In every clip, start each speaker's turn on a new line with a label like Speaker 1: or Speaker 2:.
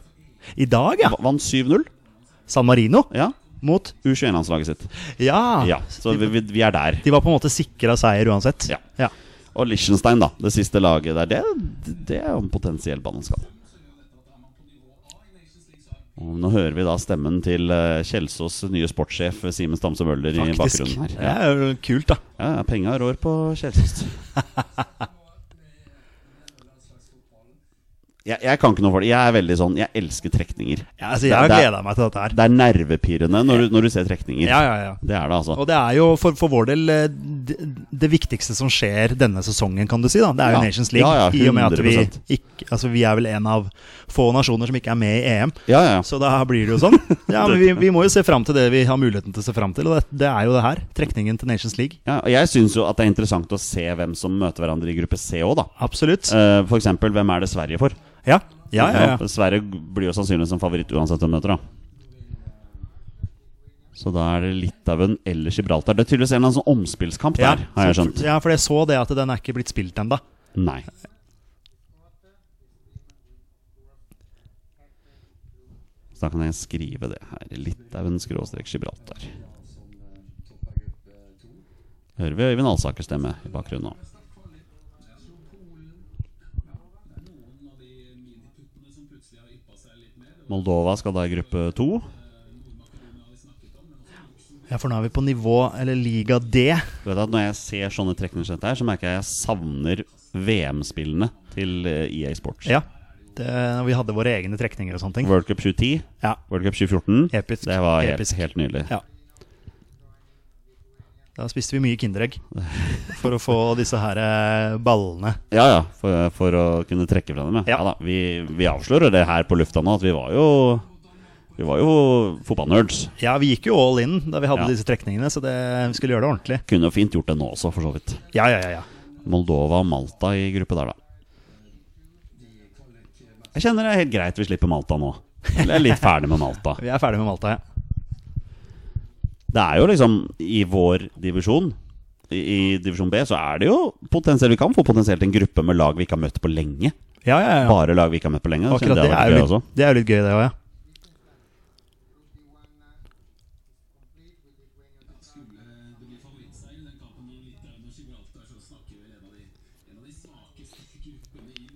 Speaker 1: I dag, ja.
Speaker 2: Va- Vant 7-0.
Speaker 1: San Marino
Speaker 2: Ja.
Speaker 1: mot
Speaker 2: U21-landslaget sitt.
Speaker 1: Ja.
Speaker 2: Ja, så vi, vi, vi er der.
Speaker 1: De var på en måte sikra seier uansett.
Speaker 2: Ja. Og Liechtenstein, da. Det siste laget der. Det, det er jo en potensiell bananskall. Og nå hører vi da stemmen til eh, Kjelsås' nye sportssjef eh, Simen Stamse Møller i
Speaker 1: Faktisk.
Speaker 2: bakgrunnen her.
Speaker 1: Det
Speaker 2: Ja,
Speaker 1: er jo kult, da.
Speaker 2: ja, ja penga rår på Kjelsås. Jeg, jeg kan ikke noe for det. Jeg er veldig sånn Jeg elsker trekninger.
Speaker 1: Ja, altså, jeg har
Speaker 2: Det er-
Speaker 1: gleda meg til dette her.
Speaker 2: Det er nervepirrende når du, når du ser trekninger.
Speaker 1: Ja, ja, ja.
Speaker 2: Det er det, altså.
Speaker 1: Og det er jo for, for vår del eh, det, det viktigste som skjer denne sesongen, kan du si. da Det er jo
Speaker 2: Ja.
Speaker 1: Nations League.
Speaker 2: Ja, ja,
Speaker 1: I og med at vi
Speaker 2: 100%.
Speaker 1: ikke Altså vi er vel en av få nasjoner som ikke er med i EM.
Speaker 2: Ja, ja.
Speaker 1: Så da blir det jo sånn. Ja, men vi, vi må jo se fram til det vi har muligheten til å se fram til, og det, det er jo det her. Trekningen til Nations League.
Speaker 2: ja og jeg syns jo at det er interessant å se hvem som møter hverandre i gruppe C òg, da.
Speaker 1: Absolutt.
Speaker 2: Eh, for eksempel, hvem er det Sverige for?
Speaker 1: Ja, ja, ja. ja.
Speaker 2: for Sverige blir jo sannsynligvis en favoritt uansett hvem møter, da. Så da er det Litauen eller Gibraltar. Det er tydeligvis en eller annen sånn omspillskamp
Speaker 1: Ja,
Speaker 2: der, har jeg
Speaker 1: så-
Speaker 2: skjønt.
Speaker 1: Ja, for jeg så det at den er ikke blitt spilt ennå.
Speaker 2: Nei. Så da kan jeg skrive det her. Litauen skråstrek Gibraltar. Hører vi Øyvind Alsakers stemme i bakgrunnen nå. Moldova skal da i gruppe to.
Speaker 1: Ja, for nå er vi på nivå, eller liga D.
Speaker 2: Du vet at Når jeg ser sånne trekninger, som dette her, så merker jeg jeg savner VM-spillene til eh, EA Sports.
Speaker 1: Ja. Det, når vi hadde våre egne trekninger og sånne ting.
Speaker 2: World Cup 2010,
Speaker 1: Ja.
Speaker 2: World Cup 2014.
Speaker 1: Episk.
Speaker 2: Det var helt,
Speaker 1: Episk.
Speaker 2: helt nydelig.
Speaker 1: Ja. Da spiste vi mye Kinderegg for å få disse her eh, ballene.
Speaker 2: Ja, ja, for, for å kunne trekke fra dem. Ja,
Speaker 1: Ja.
Speaker 2: ja da, vi, vi avslører det her på lufta nå, at vi var jo Vi var jo fotballnerds.
Speaker 1: Ja, vi gikk jo all in da vi hadde
Speaker 2: Ja.
Speaker 1: disse trekningene, så det, vi skulle gjøre det ordentlig.
Speaker 2: Kunne jo fint gjort det nå også, for så vidt.
Speaker 1: Ja, ja, ja, ja.
Speaker 2: Moldova og Malta i gruppe der, da. Jeg kjenner det er helt greit vi slipper Malta nå. Jeg er litt ferdig med Malta.
Speaker 1: Vi er ferdig med Malta, ja.
Speaker 2: Det er jo liksom i vår divisjon, i, i divisjon B, så er det jo potensielt Vi kan få potensielt en gruppe med lag vi ikke har møtt på lenge.
Speaker 1: Ja, ja, ja.
Speaker 2: Bare lag vi ikke har møtt på lenge.
Speaker 1: Akkurat
Speaker 2: hadde
Speaker 1: det
Speaker 2: vært
Speaker 1: er,
Speaker 2: gøy
Speaker 1: jo litt, det er jo litt gøy, det òg, ja.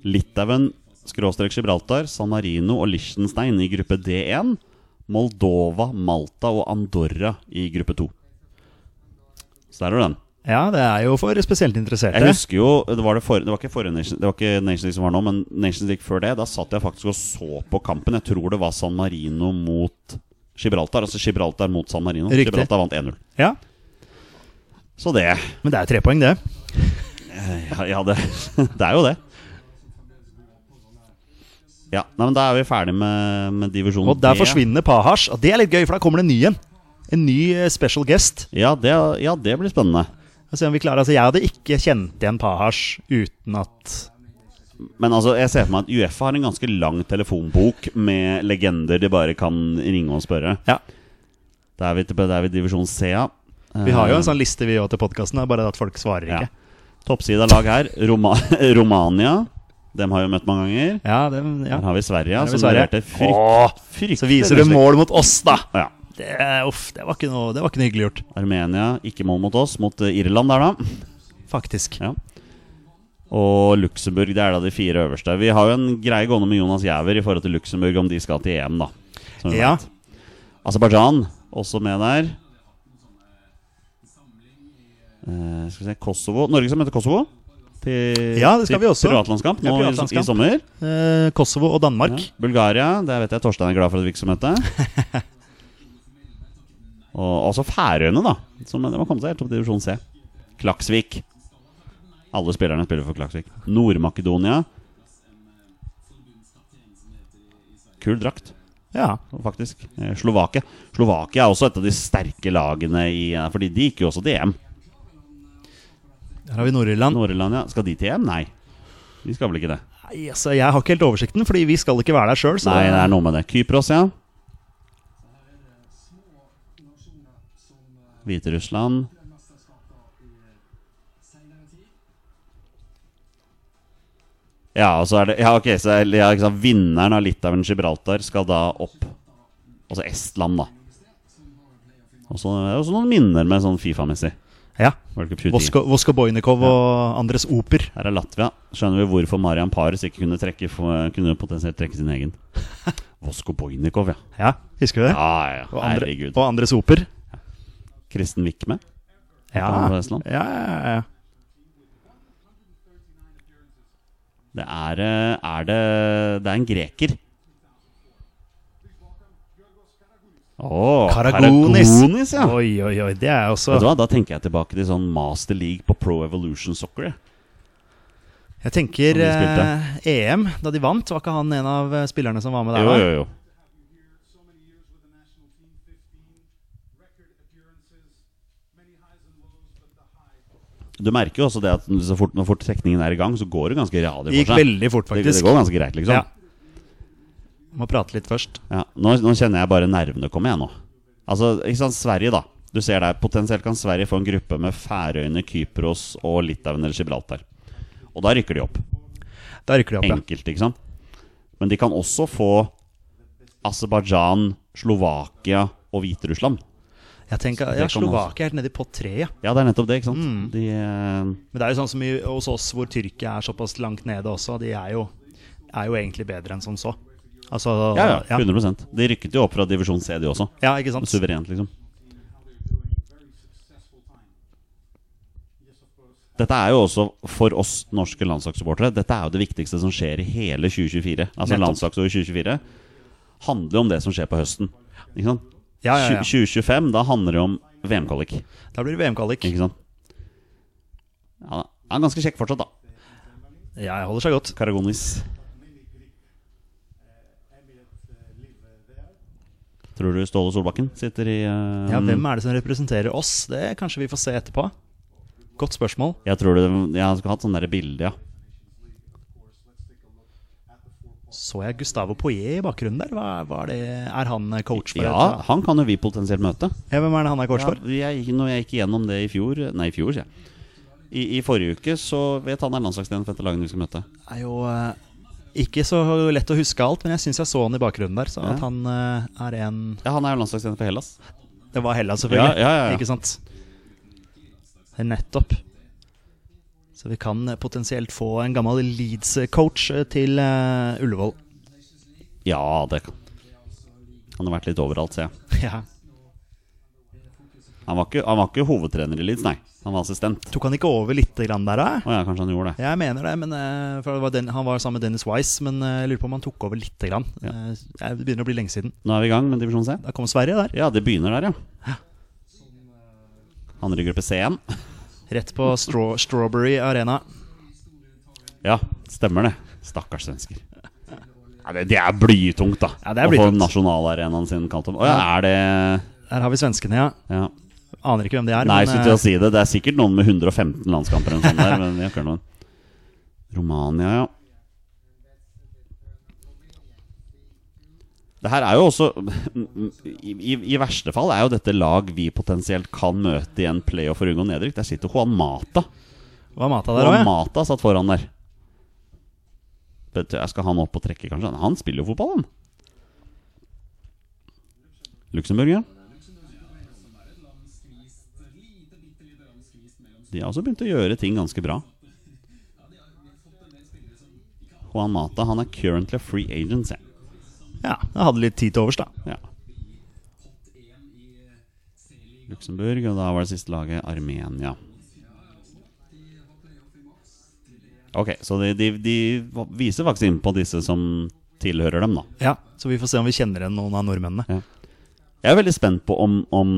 Speaker 2: Litauen, skråstrek Gibraltar, San Marino og Liechtenstein i gruppe D1. Moldova, Malta og Andorra i gruppe 2. Så der er den.
Speaker 1: Ja, det er jo for spesielt interesserte.
Speaker 2: Jeg husker jo, Det var, det for, det var ikke forrige Nation, det var ikke Nations League som var nå, men Nations League før det. Da satt jeg faktisk og så på kampen. Jeg tror det var San Marino mot Gibraltar. Altså Gibraltar mot San Marino.
Speaker 1: Riktig.
Speaker 2: Gibraltar vant 1-0.
Speaker 1: Ja,
Speaker 2: Så det
Speaker 1: Men det er tre poeng, det.
Speaker 2: Ja, ja det, det er jo det. Ja, nei, men Da er vi ferdig med, med divisjon
Speaker 1: Og der
Speaker 2: D.
Speaker 1: forsvinner Pahars. Og det er litt gøy, for da kommer det en ny en. En ny eh, special guest.
Speaker 2: Ja det, ja, det blir spennende.
Speaker 1: Og se om vi klarer, altså Jeg hadde ikke kjent igjen Pahars uten at
Speaker 2: Men altså, jeg ser for meg at Uefa har en ganske lang telefonbok med legender de bare kan ringe og spørre.
Speaker 1: Ja.
Speaker 2: Da er vi, til- da er vi i divisjon C, ja.
Speaker 1: Vi har
Speaker 2: Eh.
Speaker 1: jo en sånn liste vi gjør til podkasten, bare at folk svarer
Speaker 2: ja.
Speaker 1: ikke.
Speaker 2: Toppside av lag her. Roma Romania. Dem har vi møtt mange ganger.
Speaker 1: Ja, det, ja.
Speaker 2: Her har vi Sverige,
Speaker 1: har vi
Speaker 2: som
Speaker 1: Sverige.
Speaker 2: leverte frykt, fryktelig
Speaker 1: Så viser du
Speaker 2: slik.
Speaker 1: mål mot oss, da!
Speaker 2: Ja.
Speaker 1: Det, uff, det, var ikke noe, det var ikke noe hyggelig gjort,
Speaker 2: Armenia, ikke mål mot oss, mot eh, Irland der, da.
Speaker 1: faktisk.
Speaker 2: Ja. Og Luxembourg, det er da de fire øverste. Vi har jo en greie gående med Jonas Giæver i forhold til Luxembourg, om de skal til EM, da. Som vi
Speaker 1: Ja.
Speaker 2: vet. Aserbajdsjan, også med der. Eh, skal vi se Kosovo Norge skal møte Kosovo. Til,
Speaker 1: Ja, det skal
Speaker 2: til
Speaker 1: vi også.
Speaker 2: Privatlandskamp nå
Speaker 1: Ja,
Speaker 2: i-
Speaker 1: privatlandskamp.
Speaker 2: i sommer.
Speaker 1: Eh, Kosovo og
Speaker 2: Ja.
Speaker 1: Danmark.
Speaker 2: Bulgaria, der vet jeg Torstein er glad for at vi ikke skal møte. Og også Færøyene, da. Som det må komme seg helt opp til divisjon C. Klaksvik. Alle spillerne spiller for Klaksvik. Nord-Makedonia. Kul drakt,
Speaker 1: Ja.
Speaker 2: faktisk. Eh, Slovakia. Slovakia er også et av de sterke lagene i eh, Fordi de gikk jo også til EM.
Speaker 1: Her har vi Nord-Irland.
Speaker 2: Nord-Irland, ja. Skal de til EM? Nei. De skal vel ikke det.
Speaker 1: Nei, altså, jeg har ikke helt oversikten, fordi vi skal ikke være der sjøl.
Speaker 2: Nei, det er noe med det. Kypros, ja. Hviterussland. Ja, og så er det Ja, ok, så er, ja, ikke sant, vinneren av Litauen Gibraltar skal da opp. Altså Estland, da. Og så er det også noen minner med sånn Fifa-messig.
Speaker 1: Ja.
Speaker 2: World Cup 2010.
Speaker 1: Vosko, Vosko Bojnikov og Andres Oper.
Speaker 2: Her er Latvia. Skjønner vi hvorfor Marian Paris ikke kunne, trekke, for- kunne potensielt trekke sin egen. Vosko Bojnikov, ja.
Speaker 1: Ja, Husker du det?
Speaker 2: Ja, ja,
Speaker 1: og,
Speaker 2: ja.
Speaker 1: andre,
Speaker 2: Herregud.
Speaker 1: og Andres Oper.
Speaker 2: Kristen Vikme.
Speaker 1: Ja.
Speaker 2: Fra
Speaker 1: Ja,
Speaker 2: Estland.
Speaker 1: ja, ja, ja.
Speaker 2: Det er, eh, er det Det er en greker. Oh,
Speaker 1: Karagonis.
Speaker 2: ja.
Speaker 1: Oi, oi, oi. Det er
Speaker 2: Vet du
Speaker 1: også
Speaker 2: hva, Da tenker jeg tilbake til sånn Master League på Pro Evolution Soccer. jeg.
Speaker 1: Jeg tenker
Speaker 2: Som de
Speaker 1: eh, EM, da de vant, var ikke han en av eh, spillerne som var med der?
Speaker 2: Jo,
Speaker 1: da?
Speaker 2: jo, jo.
Speaker 3: So many years with the national team, 15 record appearances, many highs and lows, but the high
Speaker 2: Du merker jo også det at så fort, når fort trekningen er i gang, så går det ganske radig
Speaker 1: Det gikk
Speaker 2: for seg.
Speaker 1: veldig fort,
Speaker 2: Det, det
Speaker 1: faktisk.
Speaker 2: går ganske greit, liksom.
Speaker 1: Ja.
Speaker 2: Ja.
Speaker 1: Må prate litt først.
Speaker 2: Nå, nå kjenner jeg bare nervene komme, jeg nå. Altså, ikke sant, Sverige, da. Du ser der, Potensielt kan Sverige få en gruppe med Færøyene, Kypros og Litauen eller Gibraltar. Og da rykker de opp.
Speaker 1: Da rykker de opp, ja.
Speaker 2: Enkelt, ikke sant. Men de kan også få Aserbajdsjan, Slovakia og Hviterussland.
Speaker 1: Jeg tenker, ja,
Speaker 2: Det kan man også.
Speaker 1: Slovakia er helt nede i pott tre, ja.
Speaker 2: Ja, det er nettopp det, ikke sant. De, eh,
Speaker 1: Men det er jo sånn som i, hos oss hvor Tyrkia er såpass langt nede også, de er jo, er jo egentlig bedre enn som så. Altså,
Speaker 2: ja, ja,
Speaker 1: ja.
Speaker 2: 100 De rykket jo opp fra divisjon C, de også.
Speaker 1: Ja, ikke sant?
Speaker 2: Suverent, liksom.
Speaker 3: very successful time. Yes, of course.
Speaker 2: Dette er jo også for oss norske landslagssupportere Dette er jo det viktigste som skjer i hele 2024. Altså
Speaker 1: Nettopp.
Speaker 2: landslagsåret 2024 handler jo om det som skjer på høsten. Ikke sant?
Speaker 1: Ja, ja, ja.
Speaker 2: 2025, da handler det om VM-kvalik.
Speaker 1: Da blir det VM-kvalik.
Speaker 2: Ikke sant? Ja, han er ganske kjekk fortsatt, da.
Speaker 1: Ja, jeg holder seg godt.
Speaker 2: Karagonis. Tror du Ståle Solbakken sitter i eh,
Speaker 1: Ja, hvem er det som representerer oss? Det kanskje vi får se etterpå. Godt spørsmål.
Speaker 2: Jeg tror det, jeg skulle hatt sånn der bilde, ja.
Speaker 1: Så jeg Gustavo Poyet i bakgrunnen der? Hva, hva er, det? er han eh, coach for?
Speaker 2: Ja, han kan jo vi potensielt møte.
Speaker 1: ja, hvem er det han er coach
Speaker 2: Ja,
Speaker 1: for?
Speaker 2: jeg, gikk- når jeg gikk gjennom det i fjor Nei, i fjor, sier jeg. I, I forrige uke så vet han er landslagstrener for dette laget vi skal møte.
Speaker 1: Det er jo eh, ikke så lett å huske alt, men jeg syns jeg så han i bakgrunnen der. Så at han eh, er en
Speaker 2: Ja, Han er jo landslagstrener for Hellas.
Speaker 1: Det var Hellas, selvfølgelig.
Speaker 2: Ja, ja, ja, ja.
Speaker 1: Ikke sant? Nettopp. Så vi kan eh, potensielt få en gammel Leeds-coach eh, til eh, Ullevål.
Speaker 2: Ja, det kan Han har vært litt overalt, ser jeg.
Speaker 1: ja.
Speaker 2: Han var ikke, han var ikke hovedtrener i Leeds, nei. Han var assistent.
Speaker 1: Tok han ikke over lite grann der, da?
Speaker 2: Å ja, kanskje han gjorde det.
Speaker 1: Jeg mener det, men eh, for det var den, han var sammen med Dennis Wise, men eh, jeg lurer på om han tok over lite grann. Eh, jeg- det begynner å bli lenge siden.
Speaker 2: Nå er vi i gang med divisjon C.
Speaker 1: Da kom Sverige der.
Speaker 2: Ja, det begynner der, ja. Andre gruppe C1.
Speaker 1: Rett på Straw- Strawberry Arena.
Speaker 2: Ja, stemmer det. Stakkars svensker. Ja, det, det er blytungt, da.
Speaker 1: Ja, det
Speaker 2: Å
Speaker 1: er
Speaker 2: få
Speaker 1: blytungt.
Speaker 2: nasjonalarenaen sin kalt om. Å ja, er det
Speaker 1: Der har vi svenskene, ja.
Speaker 2: Ja.
Speaker 1: Aner ikke hvem de er.
Speaker 2: Nei,
Speaker 1: men,
Speaker 2: skulle
Speaker 1: eh,
Speaker 2: til å si det. Det er sikkert noen med 115 landskamper eller noe sånt der. Men jeg har ikke hørt noen. Romania, ja. Det her er jo også i, i, I verste fall er jo dette lag vi potensielt kan møte i en playoff for unge og nedrykk. Der sitter Juan Mata.
Speaker 1: var Mata der
Speaker 2: Juan
Speaker 1: òg, ja.
Speaker 2: Mata satt foran der. Vet du, jeg Skal han opp og trekke, kanskje? Han spiller jo fotball, han. Luxembourg, ja. De har også begynt å gjøre ting ganske bra. Juan Mata han er currently a free agent. sier jeg.
Speaker 1: ja. Jeg hadde litt tid til overs, da.
Speaker 2: Ja. Luxembourg, og da var det siste laget Armenia. Ok, så de, de, de viser faktisk inn på disse som tilhører dem, da.
Speaker 1: Ja, Så vi får se om vi kjenner igjen noen av nordmennene.
Speaker 2: Jeg er veldig spent på om, om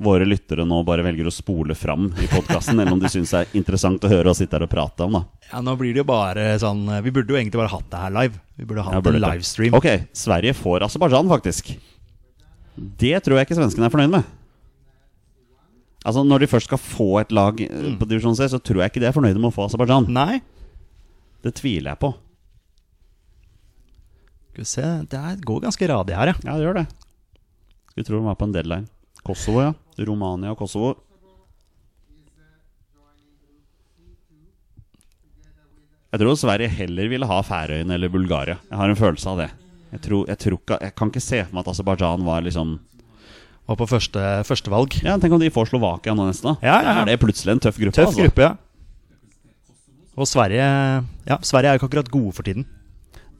Speaker 2: våre lyttere nå bare velger å spole fram i podkasten, eller om de syns det er interessant å høre og sitte her og prate om, da.
Speaker 1: Ja, nå blir det jo bare sånn eh, Vi burde jo egentlig bare hatt det her live. Vi burde hatt
Speaker 2: Jeg burde
Speaker 1: en
Speaker 2: ta-
Speaker 1: livestream.
Speaker 2: Ok, Sverige får Aserbajdsjan, faktisk. Det tror jeg ikke svenskene er fornøyd med. Altså Når de først skal få et lag eh, på divisjon C, så tror jeg ikke de er fornøyde med å få Aserbajdsjan.
Speaker 1: Nei.
Speaker 2: Det tviler jeg på.
Speaker 1: Skal vi se Det er- går ganske radig her, ja.
Speaker 2: Ja, det gjør det. Skulle tro de var på en deadline. Kosovo, ja. Romania og Kosovo. Jeg tror Sverige heller ville ha Færøyene eller Bulgaria. Jeg har en følelse av det. Jeg, tror, jeg, tror ikke, jeg kan ikke se for meg at Aserbajdsjan var liksom
Speaker 1: Var på første førstevalg.
Speaker 2: Ja, Tenk om de får Slovakia nå nesten. da
Speaker 1: Ja, ja, ja.
Speaker 2: Da Er det plutselig en tøff gruppe?
Speaker 1: Tøff
Speaker 2: altså.
Speaker 1: gruppe, ja. Og Sverige Ja, Sverige er jo ikke akkurat gode for tiden.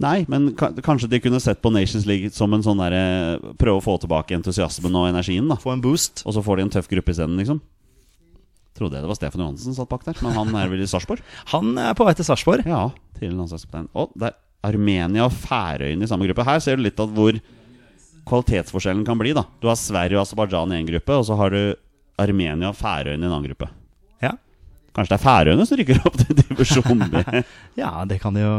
Speaker 2: Nei, men ka kanskje de kunne sett på Nations League som en sånn derre Prøve å få tilbake entusiasmen og energien, da.
Speaker 1: Få en boost.
Speaker 2: Og så får de en tøff gruppe isteden, liksom. Trodde jeg det var Stefan Johansen som satt bak der, men han er vel i Sarpsborg?
Speaker 1: Han er på vei til Sarpsborg.
Speaker 2: Ja, tidligere landslagskaptein. Og det er Armenia og Færøyene i samme gruppe. Her ser du litt at hvor kvalitetsforskjellen kan bli. da Du har Sverige og Aserbajdsjan i én gruppe, og så har du Armenia og Færøyene i en annen gruppe.
Speaker 1: Ja.
Speaker 2: Kanskje det er Færøyene som rykker opp til divisjon B?
Speaker 1: ja, det kan de jo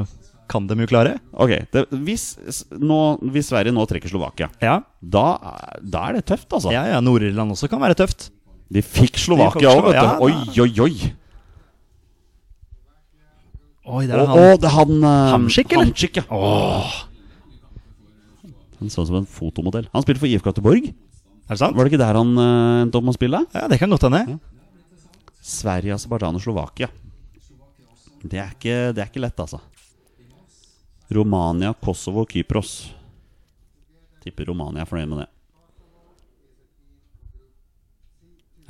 Speaker 1: Kan de jo klare.
Speaker 2: Ok, det, hvis, s- nå, hvis Sverige nå trekker Slovakia,
Speaker 1: Ja,
Speaker 2: da, er- da er det tøft, altså.
Speaker 1: ja, ja Nord-Irland også kan være tøft.
Speaker 2: De fikk
Speaker 1: De fikk
Speaker 2: Slovakia òg, vet du.
Speaker 1: Slovakia,
Speaker 2: Oi, oi, oi.
Speaker 1: Oi, der
Speaker 2: Og,
Speaker 1: er han.
Speaker 2: og det er han eh,
Speaker 1: Hamsik, eller?
Speaker 2: Hamsik, ja. Han så ut som en fotomodell. Han spilte for IFK Göteborg.
Speaker 1: Er det sant?
Speaker 2: Var det ikke der han eh, endte opp med å spille?
Speaker 1: Ja, Det kan godt hende.
Speaker 2: Sverige, Aserbajdsjan og Slovakia. Det er, ikke, det er ikke lett, altså. Romania, Kosovo og Kypros. Tipper Romania er fornøyd med det.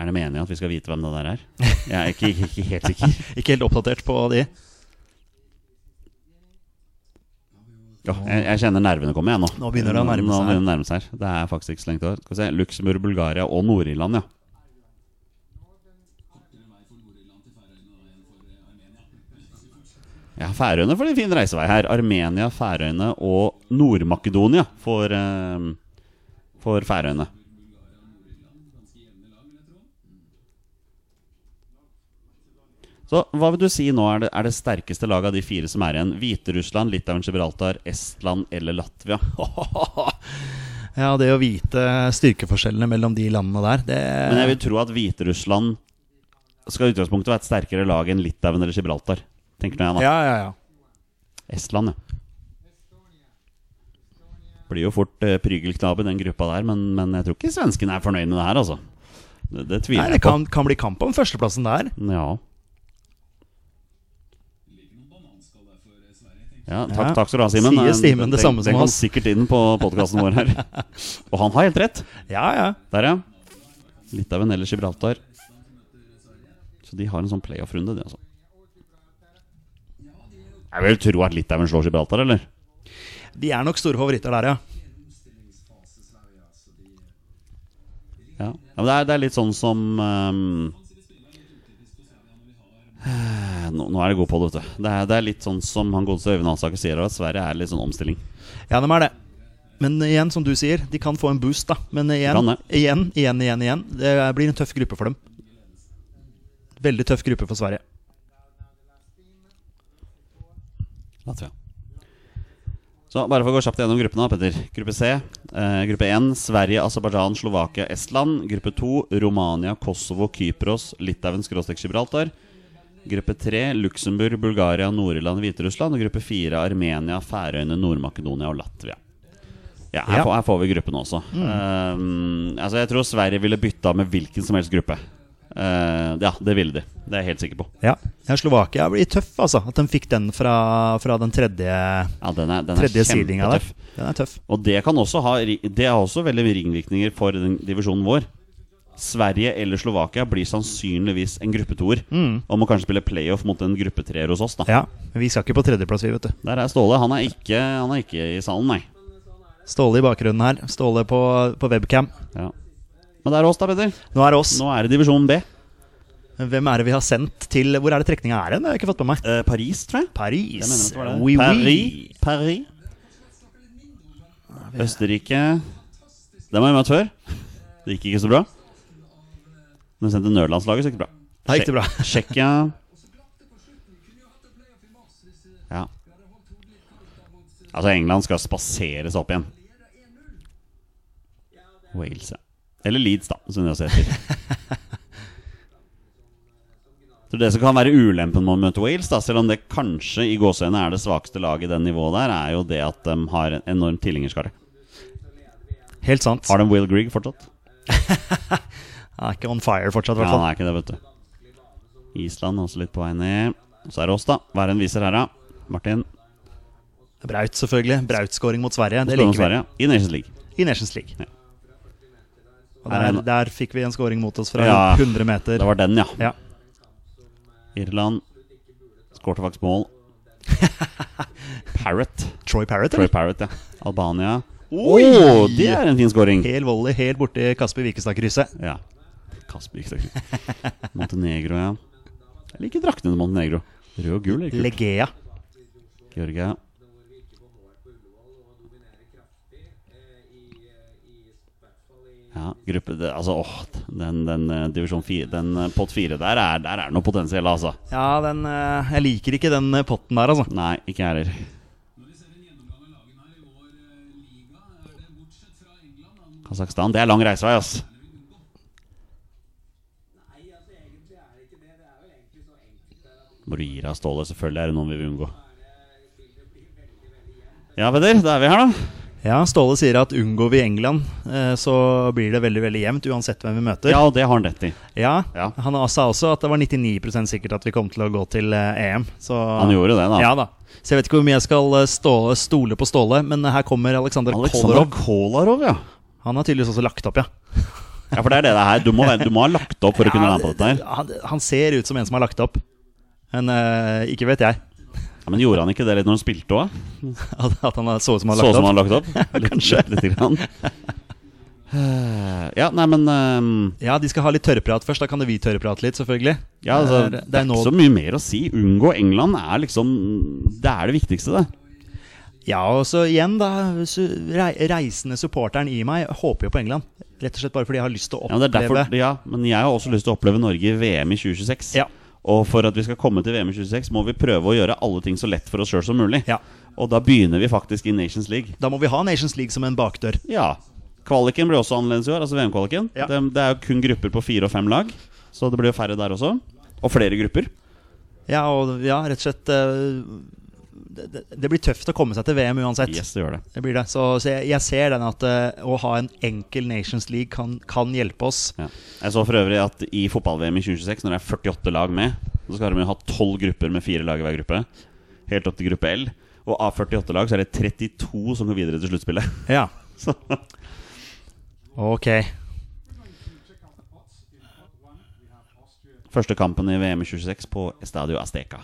Speaker 2: Er det meningen at vi skal vite hvem det der er? Jeg er ikke, ikke, ikke helt sikker.
Speaker 1: Ikke helt oppdatert på de.
Speaker 2: Ja, jeg, jeg kjenner nervene komme, jeg nå.
Speaker 1: Nå begynner det å nærme
Speaker 2: Nå
Speaker 1: seg.
Speaker 2: begynner det å nærme seg her. Det er faktisk ikke så lenge til. Skal vi se. Luxembourg, Bulgaria og Nord-Irland, ja. Ja, Færøyene får en fin reisevei her. Armenia, Færøyene og Nord-Makedonia for, eh, for Færøyene. Så hva vil du si nå er det, er det sterkeste laget av de fire som er igjen? Hviterussland, Litauen, Gibraltar, Estland eller Latvia?
Speaker 1: Ja, det å vite styrkeforskjellene mellom de landene der, det
Speaker 2: Men jeg vil tro at Hviterussland skal i utgangspunktet være et sterkere lag enn Litauen eller Gibraltar. Tenker nå jeg, da.
Speaker 1: Ja, ja, ja.
Speaker 2: Estland, ja. Blir jo fort eh, prygelknabb i den gruppa der, men, men jeg tror ikke svenskene er fornøyd med det her, altså. Det, det tviler
Speaker 1: Nei, det
Speaker 2: jeg på.
Speaker 1: kan, kan bli kamp om førsteplassen der.
Speaker 2: Ja. Ja, takk,
Speaker 1: Ja.
Speaker 2: takk skal du ha, Simen.
Speaker 1: Sier Simen det
Speaker 2: Den-
Speaker 1: samme som
Speaker 2: Den kom
Speaker 1: oss.
Speaker 2: sikkert inn på podkasten vår her. Og han har helt rett.
Speaker 1: Ja, ja.
Speaker 2: Der, ja. Litauen eller Gibraltar. Så de har en sånn playoff-runde, de, altså. Jeg vil tro at Litauen slår Gibraltar, eller?
Speaker 1: De er nok store favoritter der, ja.
Speaker 2: Ja, ja men det er, det er litt sånn som ehm, eh, nå, nå er det god på det, vet du. Det er, det er litt sånn som han godeste Øyvind Alsaker sier, at Sverige er litt sånn omstilling.
Speaker 1: Ja, de er det. Men igjen, som du sier, de kan få en boost, da. Men igjen,
Speaker 2: Kan det.
Speaker 1: igjen, igjen, igjen. igjen Det blir en tøff gruppe for dem. Veldig tøff gruppe for Sverige.
Speaker 2: Latvia. Så bare for å gå kjapt gjennom gruppene, da, Petter. Gruppe C. Eh, gruppe 1 Sverige, Aserbajdsjan, Slovakia, Estland. Gruppe 2 Romania, Kosovo, Kypros, Litauen, skråstrek Gibraltar. Gruppe 3 Luxembourg, Bulgaria, Nord-Irland, Hviterussland. Og gruppe 4 Armenia, Færøyene, Nord-Makedonia og Latvia. Ja, her,
Speaker 1: Ja.
Speaker 2: Får, her får vi gruppene også. Eh, altså Jeg tror Sverige ville bytta med hvilken som helst gruppe. Eh, ja, det ville de. Det er jeg helt sikker på.
Speaker 1: Ja. ja Slovakia blir tøff, altså. At de fikk den fra, fra den tredje,
Speaker 2: Ja, den er, den er
Speaker 1: tredje seedinga der.
Speaker 2: kjempetøff.
Speaker 1: Den er tøff.
Speaker 2: Og det kan også ha ri- Det har også veldig ringvirkninger for den divisjonen vår. Sverige eller Slovakia blir sannsynligvis en gruppetoer.
Speaker 1: Mm.
Speaker 2: Og må kanskje spille playoff mot en gruppetreer hos oss. da
Speaker 1: Ja. Men vi skal ikke på tredjeplass, vi, vet du.
Speaker 2: Der er Ståle. Han er ikke, han er ikke i salen, nei.
Speaker 1: Ståle i bakgrunnen her. Ståle på, på webcam.
Speaker 2: Ja. Men det er oss, da, Peder.
Speaker 1: Nå er det oss.
Speaker 2: Nå er det divisjon B.
Speaker 1: Hvem er det vi har sendt til Hvor er det trekninga er hen? Det har jeg ikke fått med meg.
Speaker 2: Eh, Paris, tror jeg. Jeg mener
Speaker 1: Paris.
Speaker 2: at det var det.
Speaker 1: Oui, oui.
Speaker 2: Paris. Paris. Østerrike Dem har vi møtt før. Det gikk ikke så bra. Men sendte nødlandslaget, så gikk det bra.
Speaker 1: Da gikk det bra.
Speaker 2: Tsjekkia Ja. Altså, England skal spaseres opp igjen. Wales, ja. Eller Leeds, da, som det også heter. Så det som kan være ulempen med å møte Wales, da, selv om det kanskje i gåseøynene er det svakeste laget i den nivået der, er jo det at de har en enorm tilhengerskare.
Speaker 1: Helt sant.
Speaker 2: Har de Will Grieg fortsatt?
Speaker 1: Han er ikke on fire fortsatt, i
Speaker 2: Ja,
Speaker 1: hvert fall.
Speaker 2: han er ikke det, vet du. Island også litt på vei ned. Så er det oss, da. Hva er det en viser her, da? Martin?
Speaker 1: Braut, selvfølgelig. Braut-skåring mot Sverige. Det
Speaker 2: Spør om
Speaker 1: liker vi.
Speaker 2: Sverige i Nations League.
Speaker 1: I Nations League.
Speaker 2: Ja.
Speaker 1: Og
Speaker 2: Er det
Speaker 1: der,
Speaker 2: en-
Speaker 1: der fikk vi en skåring mot oss fra
Speaker 2: Ja,
Speaker 1: 100 meter.
Speaker 2: Det var den, ja.
Speaker 1: Ja.
Speaker 2: Irland skårte faktisk mål. Parrot.
Speaker 1: Troy Parrott,
Speaker 2: Troy
Speaker 1: eller?
Speaker 2: Parrot, ja. Albania. Å, det er en fin scoring!
Speaker 1: Hel volley helt borti Kasper Vikestad-krysset.
Speaker 2: Ja. Kasper Gikstad. Montenegro, ja. Jeg liker draktene til Montenegro. Rød og gul. er kult.
Speaker 1: Legea.
Speaker 2: Georgia. Ja, gruppe det, altså, åh, Den, den eh, divisjon 4, den eh, pott 4 der er, der er noe potensiell, altså.
Speaker 1: Ja, den eh, Jeg liker ikke den eh, potten der, altså.
Speaker 2: Nei, ikke jeg heller. Kasakhstan. Det er lang reisevei, ass. Må du gi deg, Ståle. Selvfølgelig er det noen vi vil unngå. Ja, Peder. Da er vi her, da.
Speaker 1: Ja, Ståle sier at unngår vi England, eh, så blir det veldig veldig jevnt uansett hvem vi møter.
Speaker 2: Ja, og det har han rett i.
Speaker 1: Ja,
Speaker 2: Ja.
Speaker 1: Han sa også at det var 99 sikkert at vi kom til å gå til eh, EM. Så,
Speaker 2: Han gjorde det, da.
Speaker 1: Ja da. Så jeg vet ikke hvor mye jeg skal eh, stå, stole på Ståle, men eh, her kommer Aleksander
Speaker 2: Alexander
Speaker 1: Kolarov.
Speaker 2: Kolarov, ja.
Speaker 1: Han har tydeligvis også lagt opp, ja.
Speaker 2: Ja, for det er det det er. Du må, være- du må ha lagt opp for å kunne være med på dette her.
Speaker 1: han, han ser ut som en som har lagt opp. Men eh, ikke vet jeg
Speaker 2: Ja, men gjorde han ikke det litt når han spilte òg?
Speaker 1: at, at han så ut som han har
Speaker 2: Så som
Speaker 1: lagt
Speaker 2: han
Speaker 1: opp.
Speaker 2: har lagt opp? Litt, Kanskje. Litt, litt grann. Eh, Ja, nei, men ehm,
Speaker 1: Ja, De skal ha litt tørrprat først. Da kan jo vi tørrprate litt, selvfølgelig.
Speaker 2: ja, altså,
Speaker 1: Det er- det
Speaker 2: Det
Speaker 1: er
Speaker 2: er
Speaker 1: nå-
Speaker 2: ikke så mye mer å si. Unngå England er liksom Det er det viktigste, det.
Speaker 1: Ja, og så igjen, da. su- rei- Reisende supporteren i meg håper jo på England. Rett og slett bare fordi jeg har lyst til å
Speaker 2: Ja, men, det er
Speaker 1: oppleve
Speaker 2: derfor, ja, men jeg har også lyst til å oppleve Norge i VM i 2026.
Speaker 1: Ja.
Speaker 2: Og for at vi skal komme til VM i 2026, må vi prøve å gjøre alle ting så lett for oss sjøl som mulig.
Speaker 1: Ja.
Speaker 2: Og da begynner vi faktisk i Nations League.
Speaker 1: Da må vi ha Nations League som en bakdør.
Speaker 2: Ja. Kvaliken blir også annerledes i år, altså VM-kvaliken.
Speaker 1: Ja.
Speaker 2: Det, det er jo kun grupper på fire og fem lag, så det blir jo færre der også. Og flere grupper.
Speaker 1: Ja, og ja, rett og slett eh, det, det- det blir tøft å komme seg til VM uansett.
Speaker 2: Yes, det gjør det.
Speaker 1: Det blir det. Så, så jeg, jeg ser den at eh, å ha en enkel Nations League kan, kan hjelpe oss.
Speaker 2: Ja. Jeg så for øvrig at i fotball-VM i 2026, når det er 48 lag med, så skal de jo ha 12 grupper med fire lag i hver gruppe. Helt opp til gruppe L. Og av 48 lag så er det 32 som går videre til sluttspillet.
Speaker 1: Ja.
Speaker 2: Så
Speaker 1: Ok.
Speaker 2: første kampen i VM i 26 på Estadio Azteca.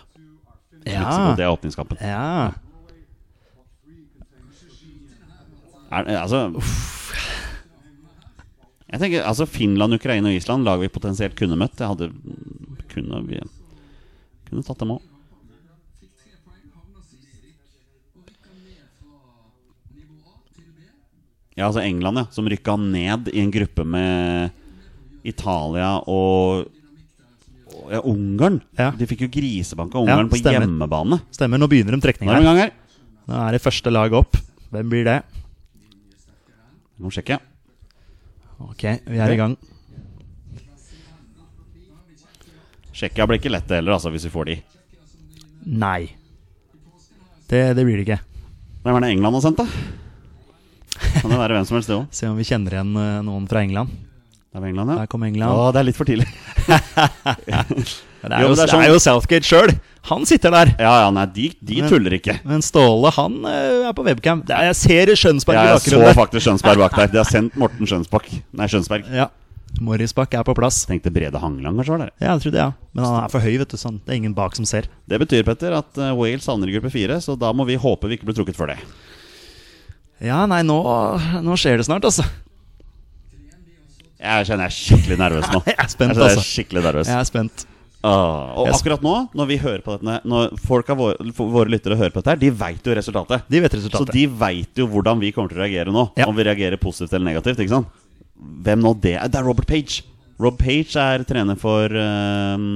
Speaker 2: Mexico,
Speaker 1: Ja.
Speaker 2: Det er åpningskampen.
Speaker 1: ja.
Speaker 2: Er, altså Jeg tenker, altså Finland, Ukraina og Island, lag vi potensielt kunne møtt. Jeg hadde kunne, vi, kunne tatt dem òg. Ja, altså England, ja. Som rykka ned i en gruppe med Italia og, og ja, Ungarn.
Speaker 1: Ja.
Speaker 2: De fikk jo grisebanka
Speaker 1: Ja,
Speaker 2: Ungarn på
Speaker 1: stemmer.
Speaker 2: hjemmebane.
Speaker 1: Stemmer. Nå begynner de
Speaker 2: Nå er vi
Speaker 1: trekninga.
Speaker 2: i gang her.
Speaker 1: Nå er det første lag opp. Hvem blir det?
Speaker 2: Nå sjekker jeg.
Speaker 1: Ok, vi er i gang.
Speaker 2: Tsjekkia blir ikke lett det heller, altså, hvis vi får de.
Speaker 1: Nei. Det, det blir det ikke.
Speaker 2: Hvem er det England har sendt, da? Kan det være hvem som helst, det òg?
Speaker 1: Se om vi kjenner igjen eh, noen fra England.
Speaker 2: Det er vel England, ja.
Speaker 1: Der kom England.
Speaker 2: Å, det er litt for tidlig.
Speaker 1: Men det er
Speaker 2: Jo,
Speaker 1: jo,
Speaker 2: men det er
Speaker 1: det er
Speaker 2: sånn-
Speaker 1: jo Southgate sjøl! Han sitter der!
Speaker 2: Ja, ja, nei, de, de
Speaker 1: Men-
Speaker 2: tuller ikke.
Speaker 1: Men Ståle, han eh, er på webcam. Det er, jeg ser Skjønsberg i
Speaker 2: Jeg så
Speaker 1: bakgrunnen.
Speaker 2: faktisk Skjønsberg bak der. De har sendt Morten Skjønsbakk. Nei, Skjønsberg.
Speaker 1: Ja. Morrisbakk er på plass.
Speaker 2: Tenkte Brede Hangeland kanskje var der.
Speaker 1: Ja, jeg trodde ja. Men han er for høy, vet du. Sånn. Det er ingen bak som ser.
Speaker 2: Det betyr, Petter, at eh, Wales havner i gruppe fire, så da må vi håpe vi ikke blir trukket for det.
Speaker 1: Ja, nei, nå, nå skjer det snart, altså.
Speaker 2: Jeg kjenner jeg er skikkelig nervøs nå.
Speaker 1: Jeg er spent,
Speaker 2: kjenner jeg er
Speaker 1: altså.
Speaker 2: skikkelig nervøs.
Speaker 1: Jeg er spent.
Speaker 2: Åh, og
Speaker 1: Jeg er sp-
Speaker 2: akkurat nå, når vi hører på dette Når folk av våre, våre lyttere hører på dette her, de veit jo resultatet.
Speaker 1: De vet
Speaker 2: Så
Speaker 1: resultatet.
Speaker 2: de veit jo hvordan vi kommer til å reagere nå.
Speaker 1: Ja.
Speaker 2: Om vi reagerer positivt eller negativt. ikke sant? Hvem nå det er? Det er Robert Page. Rob Page er trener for ehm,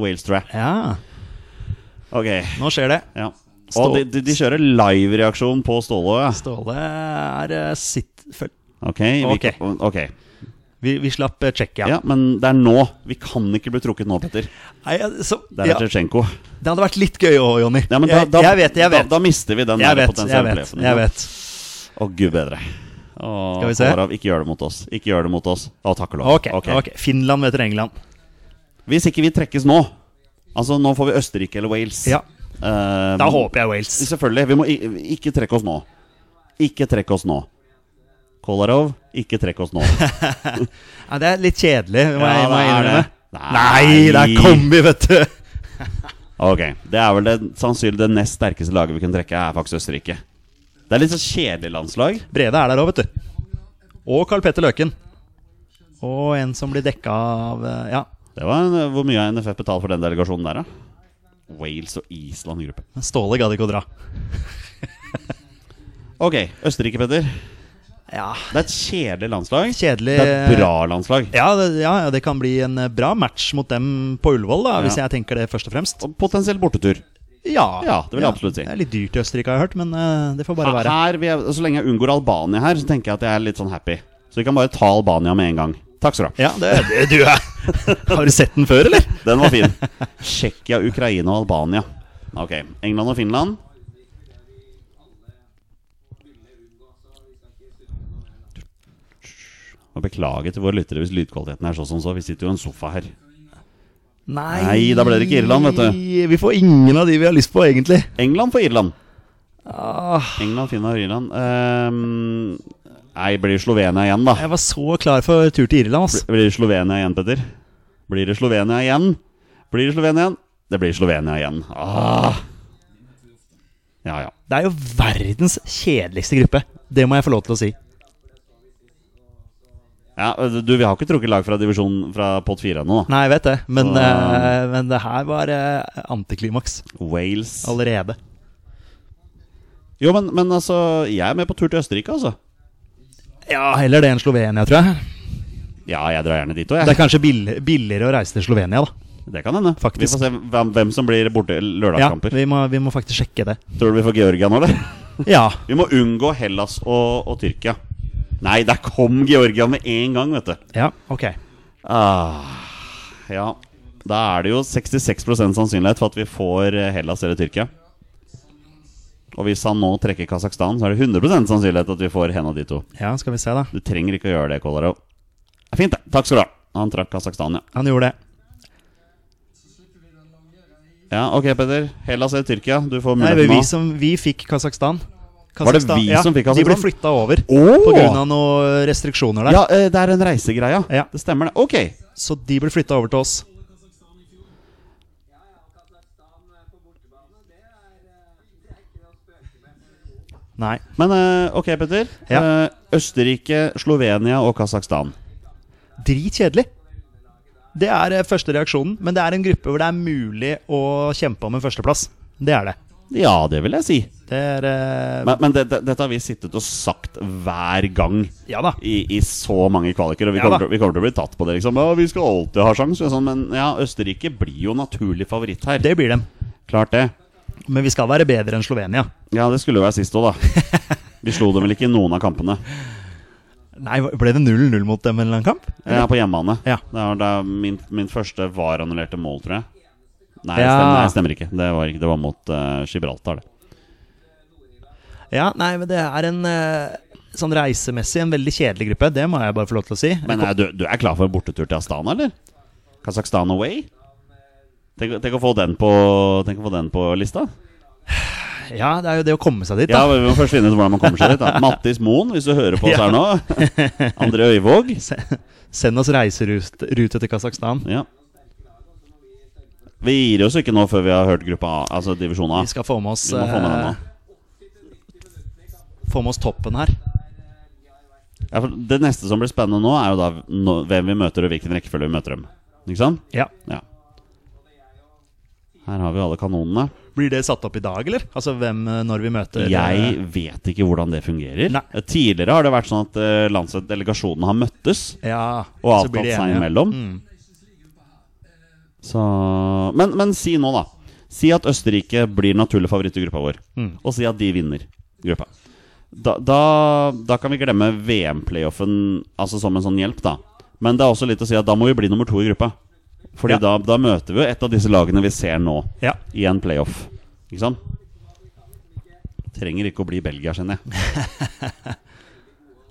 Speaker 2: Wales, tror jeg.
Speaker 1: Ja,
Speaker 2: Ok,
Speaker 1: nå skjer det.
Speaker 2: ja. Og
Speaker 1: Stål-
Speaker 2: de, de, de kjører live-reaksjon på Ståle. Ja.
Speaker 1: Ståle er eh, sitt... Følg.
Speaker 2: Ok, vi,
Speaker 1: Ok.
Speaker 2: ok.
Speaker 1: Vi, vi slapp eh, Tsjekkia.
Speaker 2: Ja, men det er nå. Vi kan ikke bli trukket nå, Petter.
Speaker 1: Nei, jeg- så,
Speaker 2: Det er
Speaker 1: ja.
Speaker 2: Tsjetsjenko.
Speaker 1: Det hadde vært litt gøy òg, Jonny.
Speaker 2: Ja, men da,
Speaker 1: jeg,
Speaker 2: da,
Speaker 1: jeg vet, jeg vet.
Speaker 2: Da, da mister vi den
Speaker 1: jeg
Speaker 2: der
Speaker 1: vet, jeg
Speaker 2: potensielle
Speaker 1: vet,
Speaker 2: playoffen.
Speaker 1: jeg vet.
Speaker 2: Å, gud bedre. Å,
Speaker 1: Skal vi se?
Speaker 2: Kolarov, ikke gjør det mot oss. Ikke gjør det mot oss. Å, takk og lov.
Speaker 1: Ok, ok. Finland møter England.
Speaker 2: Hvis ikke vi trekkes nå Altså nå får vi Østerrike eller Wales
Speaker 1: Ja.
Speaker 2: Eh,
Speaker 1: Da håper jeg Wales.
Speaker 2: Selvfølgelig, vi må i- ikke trekke oss nå Ikke trekke oss nå Kolarov, ikke trekke oss nå
Speaker 1: Ja, det er litt kjedelig, må
Speaker 2: Ja,
Speaker 1: jeg, må
Speaker 2: det
Speaker 1: jeg
Speaker 2: er
Speaker 1: innrømme.
Speaker 2: det.
Speaker 1: Nei, der kom vi, vet du!
Speaker 2: Ok, det er vel det, sannsynlig det nest sterkeste laget vi kan trekke Er faktisk Østerrike Det er litt så kjedelig landslag
Speaker 1: Brede er der òg, vet du. Og Karl Petter Løken. Og en som blir dekka av eh, Ja,
Speaker 2: Det var en, Hvor mye har NFF betalt for den delegasjonen der, da? Wales og Island i gruppe.
Speaker 1: men Ståle gadd ikke å dra.
Speaker 2: Ok, Østerrike, Petter.
Speaker 1: Ja,
Speaker 2: Det er et kjedelig landslag.
Speaker 1: Kjedelig-
Speaker 2: Det er et bra landslag.
Speaker 1: ja, det, ja, ja, det kan bli en eh, bra match mot dem på Ullevål, da, hvis
Speaker 2: Ja.
Speaker 1: jeg tenker det først og fremst.
Speaker 2: Og potensiell bortetur.
Speaker 1: Ja,
Speaker 2: Ja, det vil jeg absolutt si.
Speaker 1: Det er litt dyrt i Østerrike, har jeg hørt, men eh, det får bare være.
Speaker 2: Her vil jeg, så lenge jeg unngår Albania her, så tenker jeg at jeg er litt sånn happy. Så vi kan bare ta Albania med en gang. Takk skal du ha.
Speaker 1: Ja, det, det du er Har du sett den før, eller?
Speaker 2: Den var fin. Tsjekkia, Ukraina og Albania. Ok. England og Finland. Og Beklager til våre lyttere hvis lydkvaliteten er sånn som så. Vi sitter jo i en sofa her.
Speaker 1: Nei,
Speaker 2: Nei, da ble det ikke Irland, vet du.
Speaker 1: Vi får ingen av de vi har lyst på, egentlig.
Speaker 2: England for Irland.
Speaker 1: Ah.
Speaker 2: England, Finland og Irland. Ehm, nei, blir det Slovenia igjen, da?
Speaker 1: Jeg var så klar for tur til Irland, ass.
Speaker 2: Blir det Slovenia igjen, Petter? Blir det Slovenia igjen? Blir det Slovenia igjen? Det blir Slovenia igjen. Ah. Ja, ja.
Speaker 1: Det er jo verdens kjedeligste gruppe. Det må jeg få lov til å si.
Speaker 2: Ja, du, Vi har ikke trukket lag fra divisjonen fra pott fire ennå. da.
Speaker 1: Nei, jeg vet det, men,
Speaker 2: Så-
Speaker 1: eh, men det her var eh, antiklimaks
Speaker 2: Wales
Speaker 1: allerede.
Speaker 2: Jo, men, men altså, jeg er med på tur til Østerrike, altså.
Speaker 1: Ja, heller det enn Slovenia, tror jeg.
Speaker 2: Ja, jeg drar gjerne dit òg,
Speaker 1: Det
Speaker 2: jeg.
Speaker 1: er kanskje bill billigere å reise til Slovenia, da.
Speaker 2: Det kan hende. Vi
Speaker 1: Faktisk.
Speaker 2: får se hvem, hvem som blir borte
Speaker 1: Ja,
Speaker 2: lørdagskamper.
Speaker 1: vi må, vi må faktisk sjekke det.
Speaker 2: Tror du vi får Georgia nå, eller?
Speaker 1: Ja,
Speaker 2: Vi må unngå Hellas og, og Tyrkia. Nei, der kom Georgia med en gang, vet du.
Speaker 1: ja, ok.
Speaker 2: Ah, ja. Da er det jo 66 sannsynlighet for at vi får eh, Hellas eller Tyrkia. Og hvis han nå trekker Kasakhstan, så er det 100 sannsynlighet at vi får en av de to.
Speaker 1: Ja, skal vi se, da.
Speaker 2: Du trenger ikke å gjøre det, Kolarov. Det er fint, det. Takk skal du ha. Han trakk Kasakhstan, ja.
Speaker 1: Han gjorde det.
Speaker 2: Ja, Ok, Petter. Hellas eller Tyrkia? Du får
Speaker 1: Nei, det
Speaker 2: muligheten
Speaker 1: var vi,
Speaker 2: nå.
Speaker 1: som, vi fikk Kasakhstan.
Speaker 2: Var det vi som fikk
Speaker 1: De ble
Speaker 2: Kasakhstan?
Speaker 1: flytta over
Speaker 2: Åh!
Speaker 1: På grunn av noen restriksjoner der.
Speaker 2: Ja, eh, det er en reisegreia.
Speaker 1: Ja.
Speaker 2: Det stemmer, det. Ok.
Speaker 1: Så de ble flytta over til oss. Nei.
Speaker 2: Men eh, ok, Petter.
Speaker 1: Ja.
Speaker 2: Eh, Østerrike, Slovenia og Kasakhstan.
Speaker 1: Dritkjedelig. Det er eh, første reaksjonen, men det er en gruppe hvor det er mulig å kjempe om en førsteplass. Det er det.
Speaker 2: Ja, det vil jeg si.
Speaker 1: Det er eh,
Speaker 2: Men, men det, det, dette har vi sittet og sagt hver gang
Speaker 1: Ja da.
Speaker 2: i, i så mange kvaliker. Og vi
Speaker 1: Ja
Speaker 2: kommer,
Speaker 1: da.
Speaker 2: til, vi kommer til å bli tatt på det, liksom. Ja, vi skal alltid ha sjans. og Sånn, men ja, Østerrike blir jo naturlig favoritt her.
Speaker 1: Det blir dem.
Speaker 2: Klart det.
Speaker 1: Men vi skal være bedre enn Slovenia.
Speaker 2: Ja, det skulle jo være sist òg, da. Vi slo dem vel ikke i noen av kampene.
Speaker 1: Nei, ble det 0-0 mot dem en eller annen kamp?
Speaker 2: Jeg er på hjemmebane.
Speaker 1: Ja.
Speaker 2: Det var da min, min første var annullerte mål, tror jeg. Nei, det
Speaker 1: Ja.
Speaker 2: stemmer, nei, det stemmer ikke. Det var, ikke, det var mot eh, Gibraltar, det.
Speaker 1: Ja, nei, men det er en eh, sånn reisemessig en veldig kjedelig gruppe. Det må jeg bare få lov til å si.
Speaker 2: Men er du, du er klar for en bortetur til Astana, eller? Kasakhstan away? Tenk, tenk, å få den på, tenk å få den på lista.
Speaker 1: Ja, det er jo det å komme seg dit,
Speaker 2: Ja,
Speaker 1: da.
Speaker 2: men Vi må først finne ut hvordan man kommer seg dit. da Mattis Moen, hvis du hører på oss her nå. André Øyvåg.
Speaker 1: Se- Send oss reiserute rute til Kasakhstan.
Speaker 2: Ja. Vi gir oss ikke nå før vi har hørt gruppa A, altså divisjon A.
Speaker 1: Vi skal få med oss
Speaker 2: Vi må få med den nå.
Speaker 1: eh, få med oss toppen her.
Speaker 2: Ja, for det neste som blir spennende nå, er jo da nå- hvem vi møter og hvilken rekkefølge vi møter dem. Ikke sant?
Speaker 1: Ja.
Speaker 2: Ja. Her har vi alle kanonene.
Speaker 1: Blir det satt opp i dag, eller? Altså hvem eh, når vi møter
Speaker 2: Jeg
Speaker 1: eh,
Speaker 2: vet ikke hvordan det fungerer.
Speaker 1: Nei.
Speaker 2: Tidligere har det vært sånn at eh, landsdelegasjonen delegasjonen har møttes.
Speaker 1: ja,
Speaker 2: Og
Speaker 1: så blir
Speaker 2: avtalt
Speaker 1: de
Speaker 2: seg
Speaker 1: enige. Mm.
Speaker 2: imellom. Så, men, men si nå, da. Si at Østerrike blir naturlig favoritt i gruppa vår. Og si at de vinner gruppa. Da, da, da kan vi glemme VM-playoffen altså som en sånn hjelp, da. Men det er også litt å si at da må vi bli nummer to i gruppa. Fordi
Speaker 1: Ja.
Speaker 2: da, da møter vi jo et av disse lagene vi ser nå,
Speaker 1: Ja.
Speaker 2: i en playoff. Ikke sant? Trenger ikke å bli Belgia, skjønner jeg.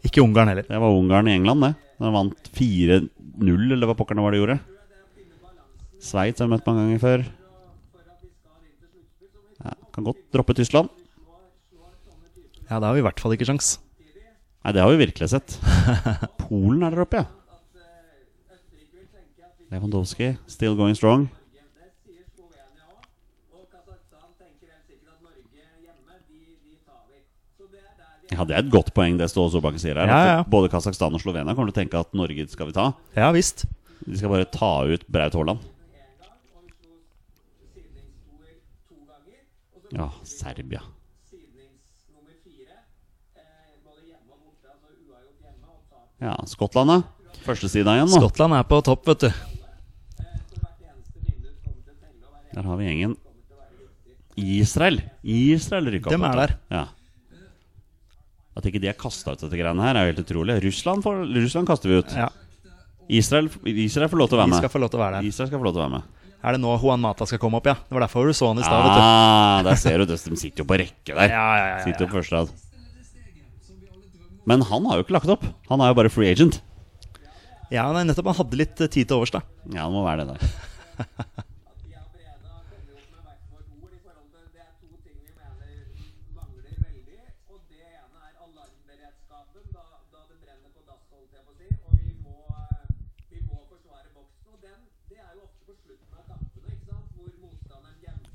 Speaker 1: Ikke Ungarn heller.
Speaker 2: Det var Ungarn i England, det. De vant 4-0, eller hva pokker det var de gjorde. Sveits har jeg møtt mange ganger før. Ja, kan godt droppe Tyskland.
Speaker 1: Ja, da har vi i hvert fall ikke sjans.
Speaker 2: Nei, det har vi virkelig sett. Polen er der oppe, ja. Lewandowski, still going strong. Ja, Det er et godt poeng, det Ståle Solbakken sier her.
Speaker 1: Ja,
Speaker 2: at
Speaker 1: ja.
Speaker 2: Både Kasakhstan og Slovenia kommer til å tenke at Norge skal vi ta.
Speaker 1: Ja visst.
Speaker 2: De skal bare ta ut Braut Haaland. Ja, Serbia. Ja, Skottland, da. Første sida igjen, nå.
Speaker 1: Skottland er på topp, vet du.
Speaker 2: Der har vi gjengen. Israel. Israel rykker opp.
Speaker 1: Dem er
Speaker 2: vet du. Ja. At ikke de er kasta ut, dette greiene her, er jo helt utrolig. Russland, får, Russland kaster vi ut.
Speaker 1: Ja,
Speaker 2: Israel, Israel får lov til å være
Speaker 1: De
Speaker 2: med.
Speaker 1: skal få lov til å være der.
Speaker 2: Israel skal få lov til å være med.
Speaker 1: Er det nå Juan Mata skal komme opp, ja? Det var derfor du så han i stad, vet du.
Speaker 2: Ah, der ser du det. De sitter jo på rekke der.
Speaker 1: Ja, ja, ja, ja.
Speaker 2: Sitter jo på første rad. Men han har jo ikke lagt opp. Han er jo bare free agent.
Speaker 1: Ja, nei, nettopp. Han hadde litt eh, tid til overs, da.
Speaker 2: Ja, det må være det der.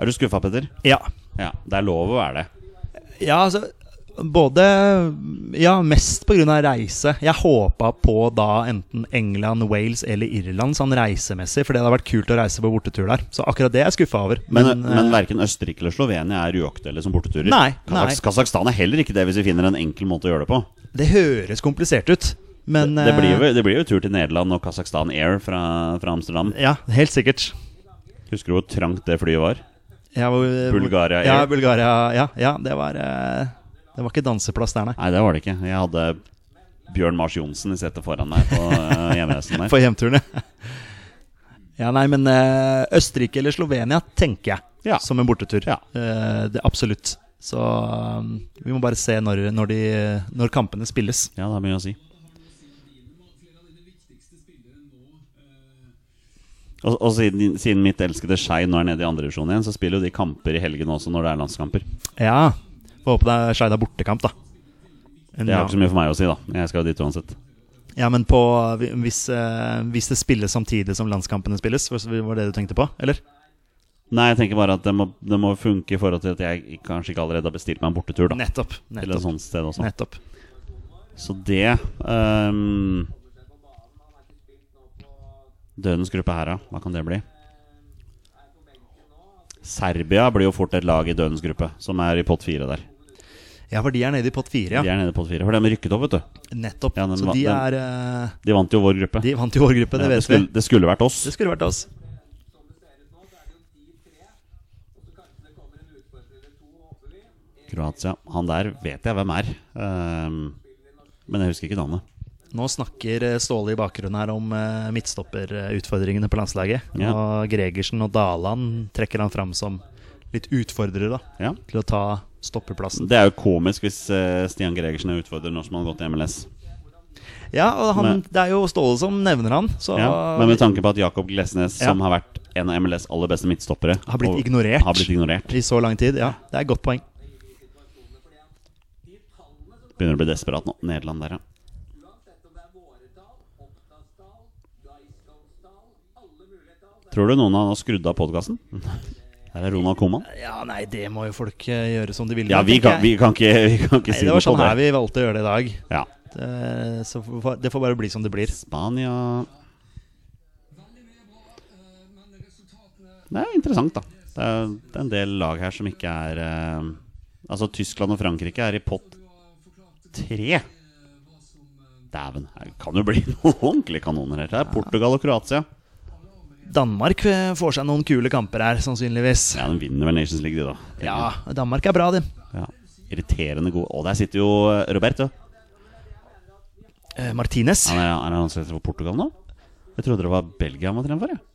Speaker 2: Er du skuffa, Petter?
Speaker 1: Ja.
Speaker 2: Ja, det er lov å være det.
Speaker 1: Ja, altså både Ja, mest pga. reise. Jeg håpa på da enten England, Wales eller Irland sånn reisemessig, for det hadde vært kult å reise på bortetur der. Så akkurat det er jeg skuffa over.
Speaker 2: Men, men,
Speaker 1: eh,
Speaker 2: verken Østerrike eller Slovenia er uaktuelle som borteturer.
Speaker 1: Nei,
Speaker 2: Kazak-
Speaker 1: nei.
Speaker 2: Kasakhstan er heller ikke det, hvis vi finner en enkel måte å gjøre det på.
Speaker 1: det høres komplisert ut, men
Speaker 2: Det blir,
Speaker 1: eh,
Speaker 2: jo, det blir jo tur til Nederland og Kasakhstan Air fra, fra Amsterdam.
Speaker 1: Ja, helt sikkert.
Speaker 2: Husker du hvor trangt det flyet var?
Speaker 1: Ja, hvor-
Speaker 2: Bulgaria
Speaker 1: Ja,
Speaker 2: Air.
Speaker 1: Bulgaria, ja, ja det var eh, Det var ikke danseplass der, nei.
Speaker 2: Nei, det var det ikke. Jeg hadde Bjørn Mars Johnsen i setet foran meg på eh, hjemreisen der.
Speaker 1: For hjemturene. ja, nei, men eh, Østerrike eller Slovenia tenker jeg
Speaker 2: Ja.
Speaker 1: som en bortetur.
Speaker 2: Ja.
Speaker 1: Eh, det, absolutt. Så um, vi må bare se når, når, de, når kampene spilles.
Speaker 2: Ja, det har mye å si. Og, og siden, siden mitt elskede Skei nå er nede i andre divisjon igjen, så spiller jo de kamper i helgene også når det er landskamper.
Speaker 1: Ja. Får håpe det er Skeid har bortekamp, da. En
Speaker 2: Det har
Speaker 1: lang-
Speaker 2: ikke så mye for meg å si, da. Jeg skal jo dit uansett.
Speaker 1: Ja, men på, hvis, eh, hvis det spilles samtidig som landskampene spilles, var det det du tenkte på? Eller?
Speaker 2: Nei, jeg tenker bare at det må, det må funke i forhold til at jeg kanskje ikke allerede har bestilt meg en bortetur, da.
Speaker 1: Nettopp.
Speaker 2: Til et
Speaker 1: Nettopp.
Speaker 2: sånt sted også.
Speaker 1: nettopp.
Speaker 2: Så det um, Dødens gruppe her, da. Hva kan det bli? Serbia blir jo fort et lag i dødens gruppe, som er i pott fire der.
Speaker 1: Ja, for de er nede i pott fire,
Speaker 2: De
Speaker 1: ja.
Speaker 2: er nede i pott fire, for de rykket opp, vet du.
Speaker 1: Nettopp.
Speaker 2: Ja, den
Speaker 1: Så
Speaker 2: va-
Speaker 1: de
Speaker 2: den-
Speaker 1: er eh,
Speaker 2: De vant jo vår gruppe.
Speaker 1: De vant i vår gruppe,
Speaker 2: Ja, det,
Speaker 1: det vet vi.
Speaker 2: skulle, det skulle vært oss.
Speaker 1: Det skulle vært oss.
Speaker 2: Kroatia. Han der vet jeg hvem er. Um, men jeg husker ikke navnet.
Speaker 1: Nå snakker eh, Ståle i bakgrunnen her om eh, midtstopperutfordringene på landslaget.
Speaker 2: Ja.
Speaker 1: Og Gregersen og Daland trekker han fram som litt utfordrere da,
Speaker 2: Ja.
Speaker 1: til å ta stopperplassen.
Speaker 2: Det er jo komisk hvis eh, Stian Gregersen er utfordrer når som han har gått i MLS.
Speaker 1: Ja, og han,
Speaker 2: Men-
Speaker 1: det er jo Ståle som nevner han, så
Speaker 2: Ja. Men med tanke på at Jakob Glesnes,
Speaker 1: Ja.
Speaker 2: som har vært en av MLS' aller beste midtstoppere
Speaker 1: Har blitt
Speaker 2: og-
Speaker 1: ignorert.
Speaker 2: Har blitt ignorert
Speaker 1: i så lang tid, ja. Det er et godt poeng.
Speaker 2: Begynner å bli desperat nå. Nederland der, ja. Tror du noen har skrudd av podkasten? Der er Ronald Koman.
Speaker 1: Ja, nei, det må jo folk eh, gjøre som de vil.
Speaker 2: Ja,
Speaker 1: med,
Speaker 2: vi
Speaker 1: tenker
Speaker 2: kan,
Speaker 1: jeg.
Speaker 2: vi kan ikke, vi kan ikke
Speaker 1: Nei,
Speaker 2: si
Speaker 1: det
Speaker 2: noe
Speaker 1: var sånn
Speaker 2: på
Speaker 1: her
Speaker 2: det.
Speaker 1: vi valgte å gjøre det i dag.
Speaker 2: Ja.
Speaker 1: Det, så får- det får bare bli som det blir.
Speaker 2: Spania Det er interessant, da. Det er, det er en del lag her som ikke er eh, Altså, Tyskland og Frankrike er i pott tre. Dæven. Her kan jo bli noen ordentlige kanoner her. Det er Portugal og Kroatia.
Speaker 1: Danmark eh, får seg noen kule kamper her, sannsynligvis.
Speaker 2: Ja, De vinner vel Nations League, de, da.
Speaker 1: Ja, Danmark er bra, de.
Speaker 2: Ja. Irriterende gode Og der sitter jo eh, Roberto.
Speaker 1: Eh, Martinez.
Speaker 2: Han er, han er ansvarlig for Portugal nå? Jeg trodde det var Belgia han var trener for. jeg.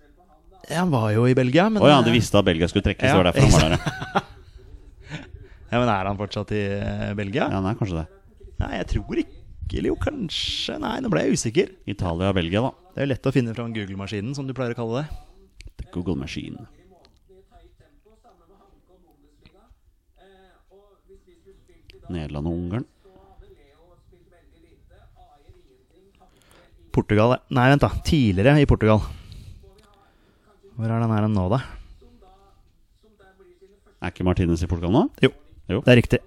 Speaker 1: Han var jo i Belgia, men eh,
Speaker 2: Å ja, de visste at Belgia skulle trekkes. det
Speaker 1: Ja,
Speaker 2: var derfor han var der. ja.
Speaker 1: Ja, men Er han fortsatt i eh, Belgia?
Speaker 2: Ja, nei, kanskje det.
Speaker 1: Nei, jeg tror ikke. Eller jo, kanskje Nei, nå ble jeg usikker.
Speaker 2: Italia og Belgia, da.
Speaker 1: Det er jo lett å finne fram Google-maskinen, som du pleier å kalle det.
Speaker 2: The Google Machine. Nederland og Ungarn.
Speaker 1: Portugal, ja. Nei, vent, da. Tidligere i Portugal. Hvor er den her nå, da?
Speaker 2: Er ikke Martinez i Portugal nå?
Speaker 1: Jo,
Speaker 2: Jo.
Speaker 1: det er riktig.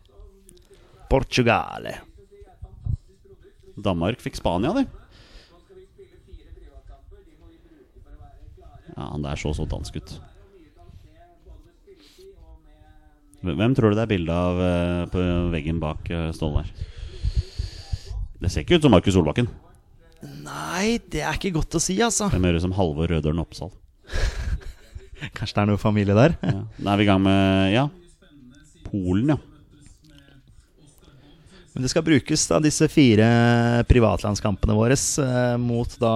Speaker 1: Portugale.
Speaker 2: Danmark fikk Spania, de. Ja, han der så så dansk ut. Hvem- Hvem tror du det er bilde av eh, på veggen bak eh, Ståle der? Det ser ikke ut som Markus Solbakken.
Speaker 1: Nei, det er ikke godt å si, altså.
Speaker 2: Hvem høres ut som Halvor Rødølen Oppsal?
Speaker 1: Kanskje det er noe familie der?
Speaker 2: Ja. Da er vi i gang med ja. Polen, ja.
Speaker 1: Men det skal brukes da disse fire privatlandskampene våre eh, mot da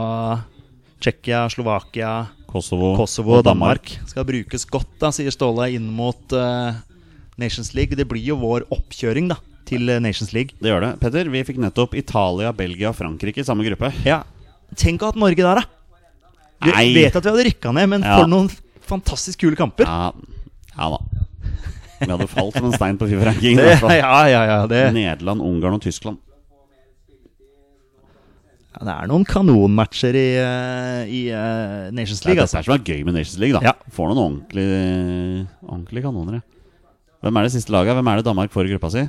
Speaker 1: Tsjekkia, Slovakia,
Speaker 2: Kosovo,
Speaker 1: Kosovo og Danmark. Skal brukes godt, da, sier Ståle, inn mot eh, Nations League. Det blir jo vår oppkjøring da til eh, Nations League.
Speaker 2: Det gjør det. Petter, vi fikk nettopp Italia, Belgia og Frankrike i samme gruppe.
Speaker 1: Ja, Tenk å ha hatt Norge der, da! Du
Speaker 2: Nei.
Speaker 1: vet at vi hadde rykka ned, men
Speaker 2: Ja.
Speaker 1: for noen fantastisk kule kamper!
Speaker 2: Ja, ja da. Vi hadde falt som en stein på
Speaker 1: Det,
Speaker 2: Fifa-rankingen.
Speaker 1: ja, ja, ja, det,
Speaker 2: Nederland, Ungarn og Tyskland.
Speaker 1: ja, det er noen kanonmatcher i, eh, i eh, Nations
Speaker 2: Det er
Speaker 1: League,
Speaker 2: dette
Speaker 1: altså.
Speaker 2: her som er gøy med Nations League. da
Speaker 1: Ja.
Speaker 2: Får noen ordentlige, ordentlige kanoner. ja. Hvem er det siste laget? Hvem er det Danmark får i gruppa si?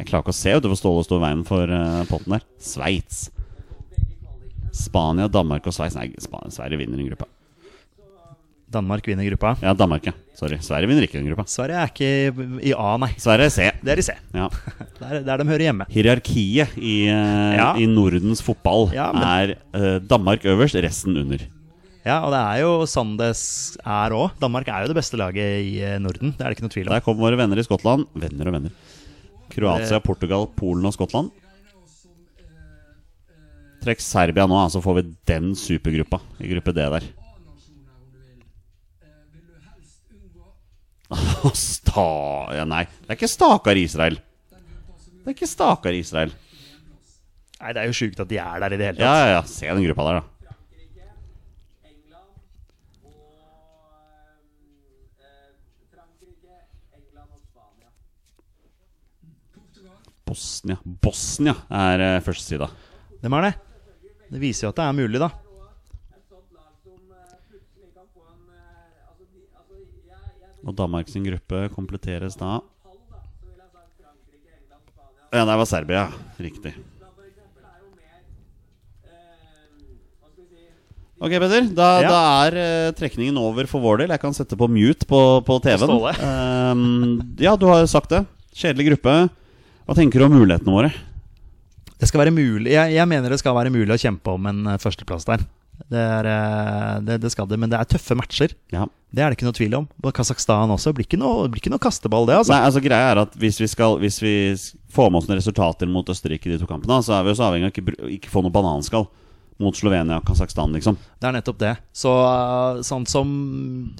Speaker 2: Jeg klarer ikke å se utover Ståle står i veien for eh, potten der. Sveits. Spania, Danmark og Sveits. Nei, Spa- Sverige vinner den gruppa.
Speaker 1: Danmark vinner gruppa.
Speaker 2: Ja, Danmark, ja. Sorry. Sverige vinner ikke den gruppa.
Speaker 1: Sverige er ikke i, i A, nei.
Speaker 2: Sverige C.
Speaker 1: Det er i C.
Speaker 2: Ja.
Speaker 1: Der, der de hører hjemme.
Speaker 2: Hierarkiet i, eh,
Speaker 1: Ja.
Speaker 2: i Nordens fotball
Speaker 1: Ja,
Speaker 2: er eh, Danmark øverst, resten under.
Speaker 1: Ja, og det er jo sånn det s- er òg. Danmark er jo det beste laget i eh, Norden. Det er det ikke noe tvil om.
Speaker 2: Der kom våre venner i Skottland. Venner og venner. Kroatia, Portugal, Polen og Skottland. Trekk Serbia nå, så får vi den supergruppa i gruppe D der. Sta... Ja, nei, det er ikke Stakar Israel. Det er ikke Stakar Israel.
Speaker 1: Nei, Det er jo sjukt at de er der i det hele
Speaker 2: Ja,
Speaker 1: tatt.
Speaker 2: ja, ja. Se den gruppa der, da. Bosnia. Bosnia er eh, første sida.
Speaker 1: Dem er det. Det viser jo at det er mulig, da.
Speaker 2: Og Danmark sin gruppe kompletteres da Ja, der var Serbia. Riktig. Ok, Peder. Da,
Speaker 1: Ja.
Speaker 2: da er eh, trekningen over for vår del. Jeg kan sette på mute på, på TV-en.
Speaker 1: Ståle.
Speaker 2: Ehm, ja, du har jo sagt det. Kjedelig gruppe. Hva tenker du om mulighetene våre?
Speaker 1: Det skal være mulig Jeg, jeg mener det skal være mulig å kjempe om en eh, førsteplass der. Det, er, eh, det, det skal det, men det er tøffe matcher.
Speaker 2: Ja.
Speaker 1: Det er det ikke noe tvil om. Og Kasakhstan også. Det blir ikke noe, det blir ikke noe kasteball, det, altså.
Speaker 2: Nei, altså greia er at Hvis vi skal Hvis vi s- får med oss noen resultater mot Østerrike i de to kampene, så er vi jo så avhengig av ikke, br- ikke få noe bananskall mot Slovenia og Kasakhstan, liksom.
Speaker 1: Det er nettopp det. Så eh, sånn som,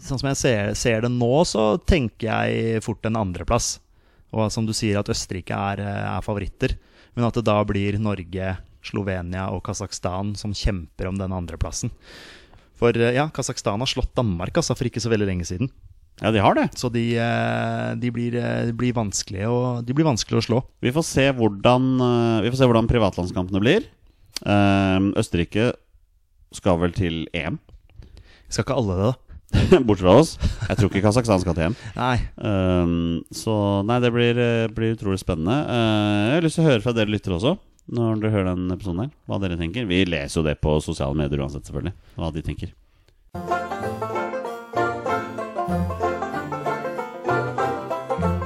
Speaker 1: sånn som jeg ser, ser det nå, så tenker jeg fort en andreplass. Og som du sier, at Østerrike er, eh, er favoritter. Men at det da blir Norge, Slovenia og Kasakhstan som kjemper om den andreplassen. For eh, ja, Kasakhstan har slått Danmark altså, for ikke så veldig lenge siden.
Speaker 2: Ja, de har det.
Speaker 1: Så de, eh, de, blir, eh, de, blir, vanskelige å, de blir vanskelige å slå.
Speaker 2: Vi får se hvordan, eh, vi får se hvordan privatlandskampene blir. Ehm, Østerrike skal vel til EM,
Speaker 1: Skal ikke alle det, da?
Speaker 2: bortsett fra oss. Jeg tror ikke Kasakhstan skal til EM.
Speaker 1: Nei.
Speaker 2: Ehm, så nei, det blir, eh, blir utrolig spennende. Eh, jeg har lyst til å høre fra dere lyttere også. Når dere hører den episoden her, hva dere tenker. Vi leser jo det på sosiale medier uansett, selvfølgelig. Hva de tenker.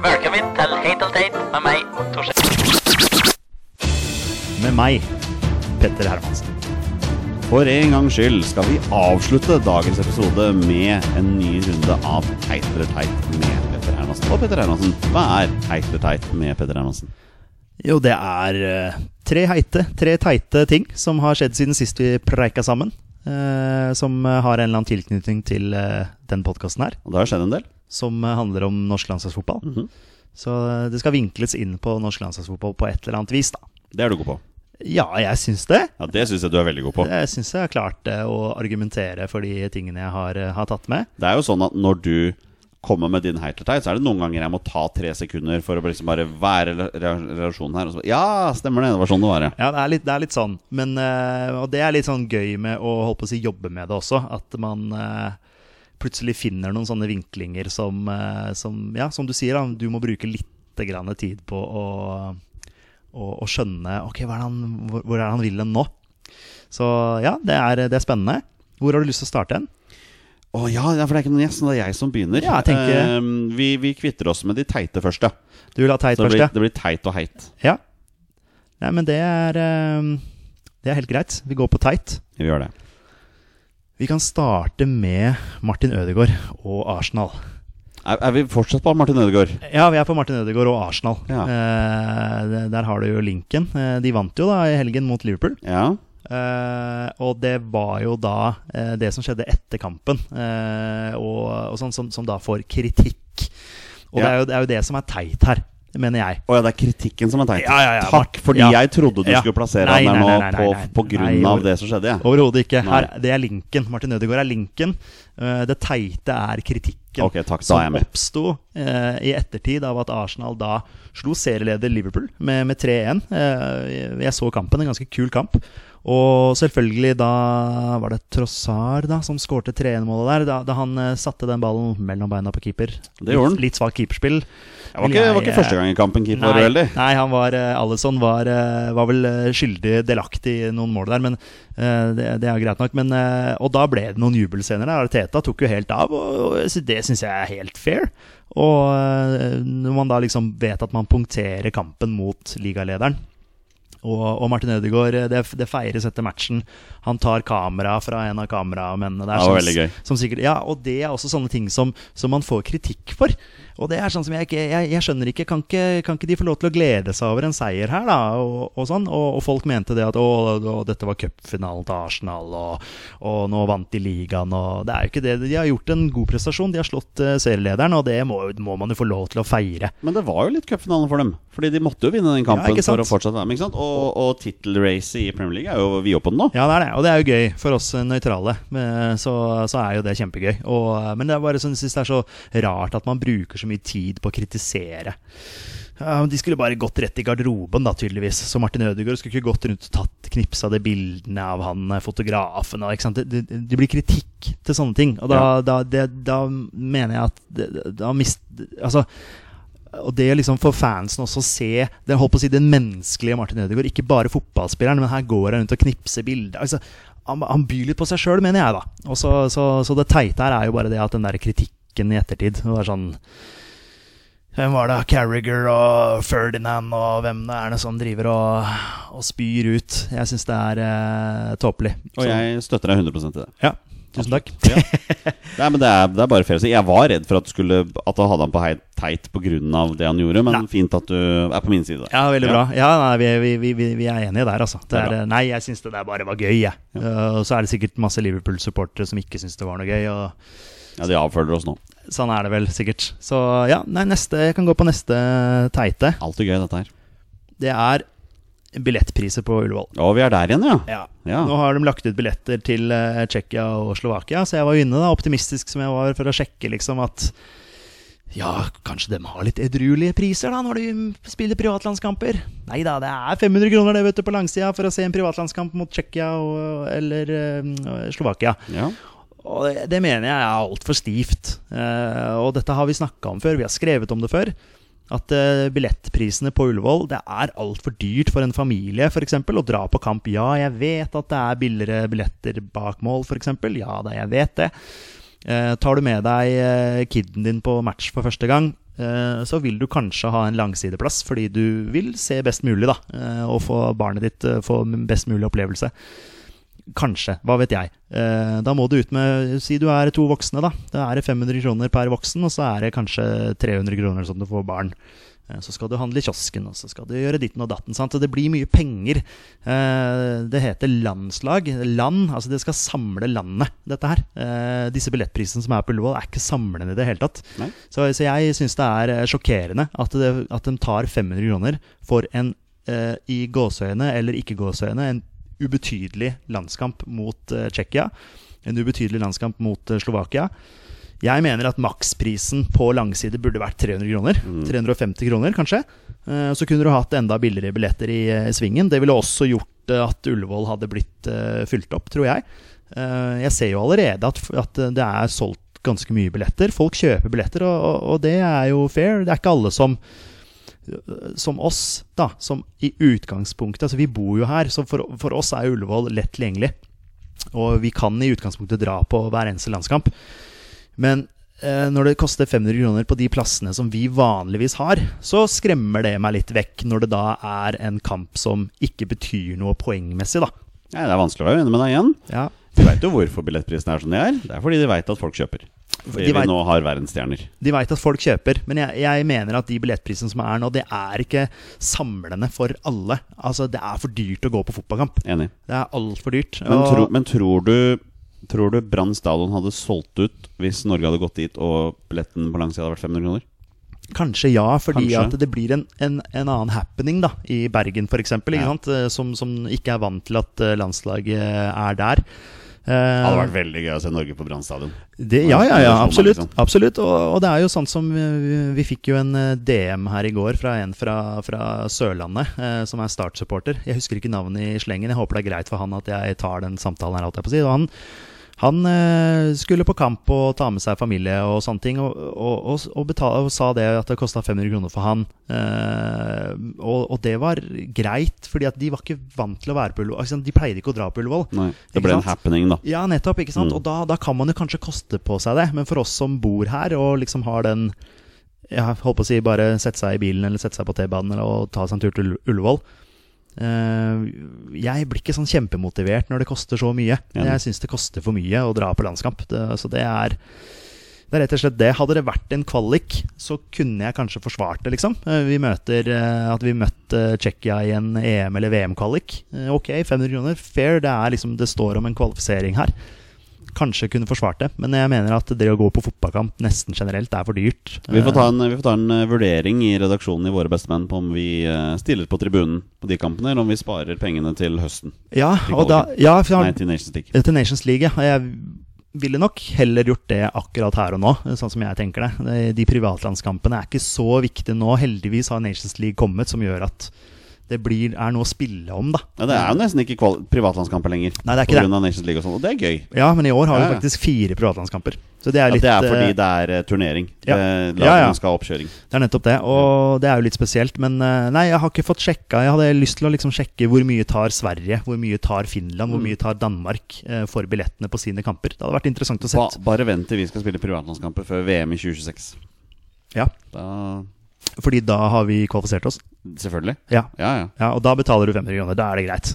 Speaker 4: Velkommen til Hate og Tate med meg, Torstein.
Speaker 1: Med meg, Petter Hermansen.
Speaker 2: For en gangs skyld skal vi avslutte dagens episode med en ny runde av Teit eller teit med Petter Hermansen. Og Petter Hermansen, hva er teit eller teit med Petter Hermansen?
Speaker 1: Jo, det er eh, tre heite, tre teite ting som har skjedd siden sist vi preika sammen. eh, som eh, har en eller annen tilknytning til eh, den podkasten her,
Speaker 2: Og det har skjedd en del.
Speaker 1: som eh, handler om norsk landslagsfotball. Så eh, det skal vinkles inn på norsk landslagsfotball på et eller annet vis, da.
Speaker 2: Det er du god på.
Speaker 1: Ja, jeg syns det.
Speaker 2: Ja, Det syns jeg du er veldig god på.
Speaker 1: Jeg syns jeg har klart eh, å argumentere for de tingene jeg har, eh, har tatt med.
Speaker 2: Det er jo sånn at når du kommer med din heit eller teit, så er det noen ganger jeg må ta tre sekunder for å liksom bare være i relasjonen her. Og så, ja, stemmer det. Det var sånn det var, ja.
Speaker 1: Ja, det er litt, det er litt sånn. Men, eh, og det er litt sånn gøy med å holde på å si jobbe med det også. At man eh, plutselig finner noen sånne vinklinger som, eh, som Ja, som du sier, da, du må bruke litt grann tid på å, og, og skjønne ok, hva er det han, hvor, hvor er det han vil hen nå. Så ja, det er, det er spennende. Hvor har du lyst til å starte hen?
Speaker 2: Å ja, ja, for det er ikke noen gjest, så det er jeg som begynner.
Speaker 1: Ja, jeg tenker-
Speaker 2: Ehm, vi, vi kvitter oss med de teite først, ja.
Speaker 1: Du vil ha teit
Speaker 2: Så det
Speaker 1: først,
Speaker 2: blir,
Speaker 1: ja?
Speaker 2: det blir teit og heit.
Speaker 1: Ja. Nei, men det er eh, Det er helt greit. Vi går på teit.
Speaker 2: Vi gjør det.
Speaker 1: Vi kan starte med Martin Ødegaard og Arsenal.
Speaker 2: Er, er vi fortsatt på Martin Ødegaard?
Speaker 1: Ja, vi er på Martin Ødegaard og Arsenal.
Speaker 2: Ja.
Speaker 1: Eh, det- der har du jo linken. Eh, de vant jo da i helgen mot Liverpool.
Speaker 2: Ja.
Speaker 1: Eh, og det var jo da eh, det som skjedde etter kampen, eh, og, og sånn som, som da får kritikk. Og det,
Speaker 2: Ja.
Speaker 1: er jo, det er jo det som er teit her, mener jeg.
Speaker 2: Å ja, det er kritikken som er teit.
Speaker 1: Ja, ja, ja.
Speaker 2: Takk, fordi
Speaker 1: Ja.
Speaker 2: jeg trodde du
Speaker 1: Ja.
Speaker 2: skulle plassere
Speaker 1: Nei,
Speaker 2: han der nå
Speaker 1: nei, nei, nei, nei, nei.
Speaker 2: på, på grunn
Speaker 1: Nei,
Speaker 2: av
Speaker 1: over-
Speaker 2: det som skjedde. Ja.
Speaker 1: Overhodet ikke.
Speaker 2: Nei.
Speaker 1: Her, det er linken. Martin Ødegaard er linken. Eh, det teite er kritikken.
Speaker 2: Ok, takk, da er jeg
Speaker 1: som
Speaker 2: med.
Speaker 1: oppsto eh, i ettertid av at Arsenal da slo serieleder Liverpool med, med 3-1. Eh, jeg så kampen, en ganske kul kamp. Og selvfølgelig da var det Trossard da som skårte 3-1-målet der. Da, da han eh, satte den ballen mellom beina på keeper.
Speaker 2: Det gjorde han.
Speaker 1: Litt, litt svakt keeperspill.
Speaker 2: Det var ikke, det var ikke første gang i kampen keeper var uheldig.
Speaker 1: Nei, han var, eh, Alisson var, eh, var vel eh, skyldig delaktig i noen mål der, men eh, det, det er greit nok. Men, eh, og da ble det noen jubelscener der. Teta tok jo helt av, og, og jeg sy- det syns jeg er helt fair. Og eh, når man da liksom vet at man punkterer kampen mot ligalederen og, og Martin Ødegaard, eh, det, det feires etter matchen. Han tar kamera fra en av kameramennene der.
Speaker 2: Det var
Speaker 1: som-
Speaker 2: veldig gøy.
Speaker 1: som sikkert, ja, og det er også sånne ting som, som man får kritikk for. Og det er sånn som jeg ikke Jeg, jeg skjønner ikke kan, ikke kan ikke de få lov til å glede seg over en seier her, da? Og, og sånn. Og, og folk mente det at å, å dette var cupfinalen til Arsenal, og, og nå vant de ligaen, og Det er jo ikke det. De har gjort en god prestasjon. De har slått eh, serielederen, og det må, må man jo få lov til å feire.
Speaker 2: Men det var jo litt cupfinale for dem. Fordi de måtte jo vinne den kampen
Speaker 1: ikke sant?
Speaker 2: for å fortsette. Dem, ikke sant? Og, og tittelracet i Premier League er jo vi oppe på den nå.
Speaker 1: Ja, det er det. Og det er jo gøy for oss nøytrale. eh, Så, så er jo det kjempegøy. Og, men det er bare sånn, jeg synes det er så rart at man bruker så mye tid på å kritisere. Ja, men De skulle bare gått rett i garderoben, da, tydeligvis. Så Martin Ødegaard skulle ikke gått rundt og tatt knips av de bildene av han eh, fotografen. Og, ikke sant? Det, det, det blir kritikk til sånne ting. Og da, da, det, da mener jeg at det, da mist, altså, og det liksom for fansen også å se det, holdt på å si, den menneskelige Martin Ødegaard. Ikke bare fotballspilleren, men her går han rundt og knipser bilder. Altså, han, han byr litt på seg sjøl, mener jeg, da. Og så, så, så det teite her er jo bare det at den der kritikken i ettertid det var sånn hvem var det? Carriger og Ferdinand og hvem det er det som driver og, og spyr ut. Jeg syns det er eh, tåpelig.
Speaker 2: Og
Speaker 1: Så-
Speaker 2: jeg støtter deg 100 i det.
Speaker 1: Ja, tusen takk.
Speaker 2: Nei, men det er, det er bare fair å si. Jeg var redd for at du, skulle, at du hadde han på hei- teit pga. det han gjorde, men
Speaker 1: Nei.
Speaker 2: fint at du er på min side.
Speaker 1: Ja, veldig bra. Ja, nei, vi, vi, vi- vi, vi er enige der, altså. Det
Speaker 2: Det er
Speaker 1: er,
Speaker 2: bra.
Speaker 1: eh, nei, jeg syns det der bare var gøy, jeg. Eh, og så er det sikkert masse Liverpool-supportere som ikke syns det var noe gøy. Og
Speaker 2: Ja, De avfølger oss nå.
Speaker 1: sånn er det vel sikkert. Så ja, nei, neste, jeg kan gå på neste teite.
Speaker 2: Alltid gøy, dette her.
Speaker 1: Det er billettpriser på Ullevål.
Speaker 2: Og vi er der igjen, ja.
Speaker 1: Ja.
Speaker 2: Ja.
Speaker 1: Nå har de lagt ut billetter til eh, Tsjekkia og Slovakia, så jeg var jo inne, da, optimistisk som jeg var, for å sjekke liksom at ja, kanskje de har litt edruelige priser da når de spiller privatlandskamper. Nei da, det er 500 kroner det vet du på langsida for å se en privatlandskamp mot Tsjekkia og- eller eh, Slovakia.
Speaker 2: ja.
Speaker 1: Og det, det mener jeg er altfor stivt. Eh, og dette har vi snakka om før, vi har skrevet om det før. At eh, billettprisene på Ullevål Det er altfor dyrt for en familie for eksempel, å dra på kamp. Ja, jeg vet at det er billigere billetter bak mål, f.eks. Ja da, jeg vet det. Eh, tar du med deg eh, kiden din på match for første gang, eh, så vil du kanskje ha en langsideplass, fordi du vil se best mulig, da. Eh, og få barnet ditt eh, få best mulig opplevelse. Kanskje, hva vet jeg. Eh, da må du ut med Si du er to voksne, da. Da er det 500 kroner per voksen, og så er det kanskje 300 kroner sånn du får barn. Eh, Så skal du handle i kiosken, og så skal du gjøre ditten og datten. Sant? Og det blir mye penger. Eh, Det heter landslag. Land. Altså, det skal samle landet, dette her. Eh, Disse billettprisene som er på Ullevål, er ikke samlende i det hele tatt.
Speaker 2: Nei.
Speaker 1: Så, så jeg syns det er eh, sjokkerende at, det, at de tar 500 kroner for en eh, i gåseøyne eller ikke gåseøyne en ubetydelig landskamp mot eh, Tsjekkia. En ubetydelig landskamp mot eh, Slovakia. Jeg mener at maksprisen på langside burde vært 300 kroner. 350 kroner, kanskje. Eh, Så kunne du hatt enda billigere billetter i eh, svingen. Det ville også gjort eh, at Ullevål hadde blitt eh, fylt opp, tror jeg. Eh, Jeg ser jo allerede at, at eh, det er solgt ganske mye billetter. Folk kjøper billetter, og, og, og det er jo fair. Det er ikke alle som eh, som oss, da, som i utgangspunktet Altså, vi bor jo her, så for, for oss er Ullevål lett tilgjengelig. Og vi kan i utgangspunktet dra på hver eneste landskamp. Men eh, når det koster 500 kroner på de plassene som vi vanligvis har, så skremmer det meg litt vekk når det da er en kamp som ikke betyr noe poengmessig, da.
Speaker 2: Nei, det er vanskelig å være uenig med deg igjen.
Speaker 1: Ja.
Speaker 2: De veit jo hvorfor billettprisene er som de er. Det er fordi de veit at folk kjøper. Fordi vi
Speaker 1: De vet-
Speaker 2: nå har verdensstjerner.
Speaker 1: De veit at folk kjøper, men jeg, jeg mener at de billettprisene som er nå, det er ikke samlende for alle. Altså, det er for dyrt å gå på fotballkamp.
Speaker 2: Enig.
Speaker 1: Det er altfor dyrt.
Speaker 2: Men,
Speaker 1: og-
Speaker 2: tro, men tror du Tror du Brann stadion hadde solgt ut hvis Norge hadde gått dit og billetten på lang side hadde vært 500 kroner?
Speaker 1: Kanskje ja, fordi
Speaker 2: Kanskje.
Speaker 1: at det blir en, en, en annen happening da, i Bergen f.eks.,
Speaker 2: Ja.
Speaker 1: eh, som, som ikke er vant til at eh, landslaget er der. Eh,
Speaker 2: Det hadde vært veldig gøy å se Norge på Brann stadion.
Speaker 1: det, ja, ja, ja, absolutt.
Speaker 2: Liksom.
Speaker 1: absolutt. Og, og det er jo sånn som eh, Vi fikk jo en eh, DM her i går fra en fra, fra Sørlandet, eh, som er Start-supporter. Jeg husker ikke navnet i slengen. Jeg håper det er greit for han at jeg tar den samtalen her, holdt jeg på å si. Og han, han eh, skulle på kamp og ta med seg familie og sånne ting, og, og, og, og, betal, og sa det at det kosta 500 kroner for han. Eh, og, og det var greit, fordi at de var ikke vant til å være på Ullevål. Altså, de pleide ikke å dra på Ullevål.
Speaker 2: Nei, det
Speaker 1: Ikke
Speaker 2: ble en
Speaker 1: sant?
Speaker 2: happening, da.
Speaker 1: Ja, nettopp. ikke sant?
Speaker 2: Mm.
Speaker 1: Og da, da kan man jo kanskje koste på seg det, men for oss som bor her og liksom har den Jeg holdt på å si bare sette seg i bilen eller sette seg på T-banen eller og ta seg en tur til Ull- Ullevål. eh, jeg blir ikke sånn kjempemotivert når det koster så mye.
Speaker 2: Enig.
Speaker 1: Jeg syns det koster for mye å dra på landskamp. Det, så det er det er rett og slett det. Hadde det vært en kvalik, så kunne jeg kanskje forsvart det, liksom. Eh, Vi møter eh, at vi møtte Tsjekkia i en EM- eller VM-kvalik. Eh, Ok, 500 kroner. Fair. Det er liksom Det står om en kvalifisering her. Kanskje kunne forsvart det, men jeg mener at det å gå på fotballkamp nesten generelt er for dyrt.
Speaker 2: Vi får, ta en, vi får ta en eh, vurdering i redaksjonen i Våre bestemenn på om vi eh, stiller på tribunen på de kampene, eller om vi sparer pengene til høsten.
Speaker 1: Eh, Ja, og da ja, for
Speaker 2: Nei,
Speaker 1: jeg,
Speaker 2: til Nations League.
Speaker 1: Eh, til Nations League, ja. Og jeg ville nok heller gjort det akkurat her og nå, eh, sånn som jeg tenker det. Eh, De privatlandskampene er ikke så viktige nå. Heldigvis har Nations League kommet, som gjør at det blir, er noe å spille om, da.
Speaker 2: Ja, det er jo nesten ikke kval privatlandskamper lenger.
Speaker 1: Nei, det er
Speaker 2: på
Speaker 1: ikke
Speaker 2: grunn av Nations League og sånn, og det er gøy.
Speaker 1: Ja, men i år har
Speaker 2: Ja,
Speaker 1: vi
Speaker 2: ja.
Speaker 1: faktisk fire privatlandskamper. Så det er
Speaker 2: Ja,
Speaker 1: litt
Speaker 2: det er fordi
Speaker 1: eh,
Speaker 2: det er eh, turnering.
Speaker 1: ja.
Speaker 2: Eh, Lagene
Speaker 1: Ja, ja.
Speaker 2: skal ha oppkjøring.
Speaker 1: Det er nettopp det, og det er jo litt spesielt. Men eh, nei, jeg har ikke fått sjekka. Jeg hadde lyst til å liksom sjekke hvor mye tar Sverige, hvor mye tar Finland,
Speaker 2: Mm.
Speaker 1: hvor mye tar Danmark eh, for billettene på sine kamper. Det hadde vært interessant å
Speaker 2: Ba,
Speaker 1: sett.
Speaker 2: bare vent til vi skal spille privatlandskamper før VM i 2026.
Speaker 1: Ja,
Speaker 2: Da
Speaker 1: fordi da har vi kvalifisert oss.
Speaker 2: Selvfølgelig.
Speaker 1: Ja.
Speaker 2: Ja, ja.
Speaker 1: Ja, og da betaler du 500 kroner. Da er det greit.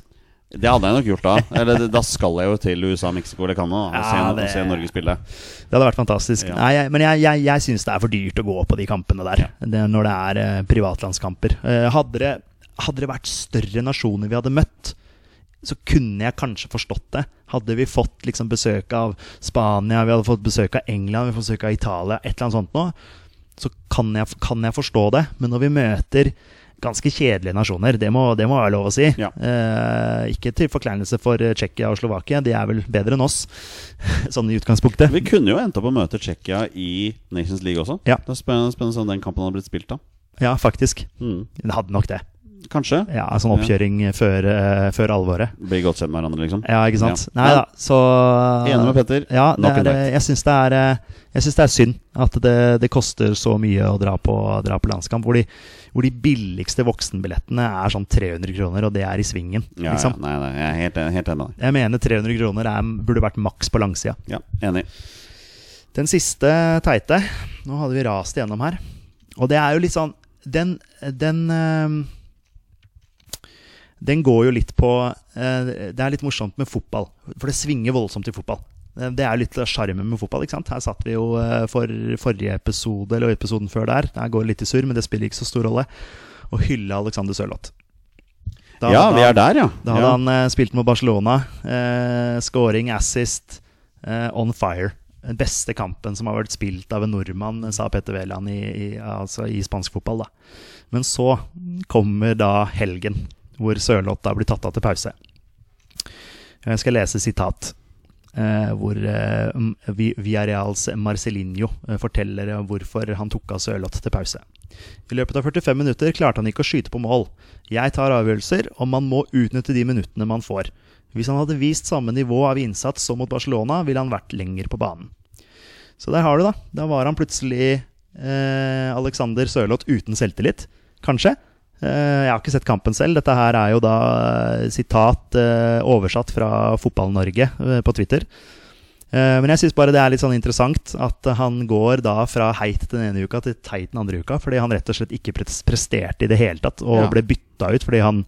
Speaker 2: Det hadde jeg nok gjort da. Eller det- da skal jeg jo til USA, Mexico eller Canada og se,
Speaker 1: Ja,
Speaker 2: og
Speaker 1: det-
Speaker 2: se Norge spille.
Speaker 1: Det hadde vært fantastisk.
Speaker 2: Ja.
Speaker 1: Nei, jeg, men jeg, jeg, jeg syns det er for dyrt å gå på de kampene der, det, når det er eh, privatlandskamper. Eh, hadde, det, hadde det vært større nasjoner vi hadde møtt, så kunne jeg kanskje forstått det. Hadde vi fått liksom, besøk av Spania, vi hadde fått besøk av England, vi hadde fått besøk av Italia, et eller annet sånt nå, så kan jeg, kan jeg forstå det. Men når vi møter ganske kjedelige nasjoner, det må, det må være lov å si.
Speaker 2: Ja.
Speaker 1: Eh, ikke til forkleinelse for eh, Tsjekkia og Slovakia, de er vel bedre enn oss, sånn i utgangspunktet.
Speaker 2: Vi kunne jo endt opp å møte Tsjekkia i Nations League også.
Speaker 1: Ja.
Speaker 2: Det er spennende, spennende om den kampen hadde blitt spilt da.
Speaker 1: Ja, faktisk.
Speaker 2: Mm.
Speaker 1: Det hadde nok det.
Speaker 2: Kanskje.
Speaker 1: Ja, Sånn oppkjøring før, eh, før alvoret.
Speaker 2: Bli godt kjent med hverandre, liksom.
Speaker 1: Ja, ikke sant?
Speaker 2: Ja.
Speaker 1: Nei da, så
Speaker 2: Enig med Petter.
Speaker 1: Ja, det
Speaker 2: Nok en
Speaker 1: er, eh,
Speaker 2: dag.
Speaker 1: jeg syns det, er, eh, jeg synes det er synd at det, det koster så mye å dra på, dra på landskamp. Hvor de, hvor de billigste voksenbillettene er sånn 300 kroner, og det er i svingen.
Speaker 2: Ja, ja.
Speaker 1: liksom.
Speaker 2: Nei, nei, jeg er helt, en- helt enig med deg.
Speaker 1: Jeg mener 300 kroner er, burde vært maks på langsida.
Speaker 2: Ja, Enig.
Speaker 1: Den siste teite Nå hadde vi rast igjennom her. Og det er jo litt sånn Den, den ehm, den går jo litt på eh, Det er litt morsomt med fotball, for det svinger voldsomt i fotball. Eh, Det er jo litt av sjarmen med fotball. ikke sant? Her satt vi jo eh, for forrige episode, eller episoden før der. Der går det litt i surr, men det spiller ikke så stor rolle. Å hylle Alexander Sørloth. Da-
Speaker 2: ja,
Speaker 1: da-
Speaker 2: vi er der, ja.
Speaker 1: Da hadde
Speaker 2: ja.
Speaker 1: han eh, spilt med Barcelona. Eh, scoring, assist, eh, on fire. Den beste kampen som har vært spilt av en nordmann, eh, sa Petter Wæland i, i, altså i spansk fotball. Da. Men så kommer da helgen, hvor Sørloth da blir tatt av til pause. Jeg skal lese sitat. Eh, hvor eh, M- Vi- Villarreals Marcelinho eh, forteller hvorfor han tok av Sørloth til pause. I løpet av 45 minutter klarte han ikke å skyte på mål. Jeg tar avgjørelser, og man må utnytte de minuttene man får. Hvis han hadde vist samme nivå av innsats som mot Barcelona, ville han vært lenger på banen. Så der har du, da. Da var han plutselig eh, Alexander Sørloth uten selvtillit. kanskje. Eh, Jeg har ikke sett kampen selv. Dette her er jo da eh, sitat eh, oversatt fra Fotball-Norge eh, på Twitter. Eh, Men jeg syns bare det er litt sånn interessant at han går da fra heit den ene uka til teit den andre uka, fordi han rett og slett ikke pres- presterte i det hele tatt, og
Speaker 2: Ja.
Speaker 1: ble bytta ut fordi han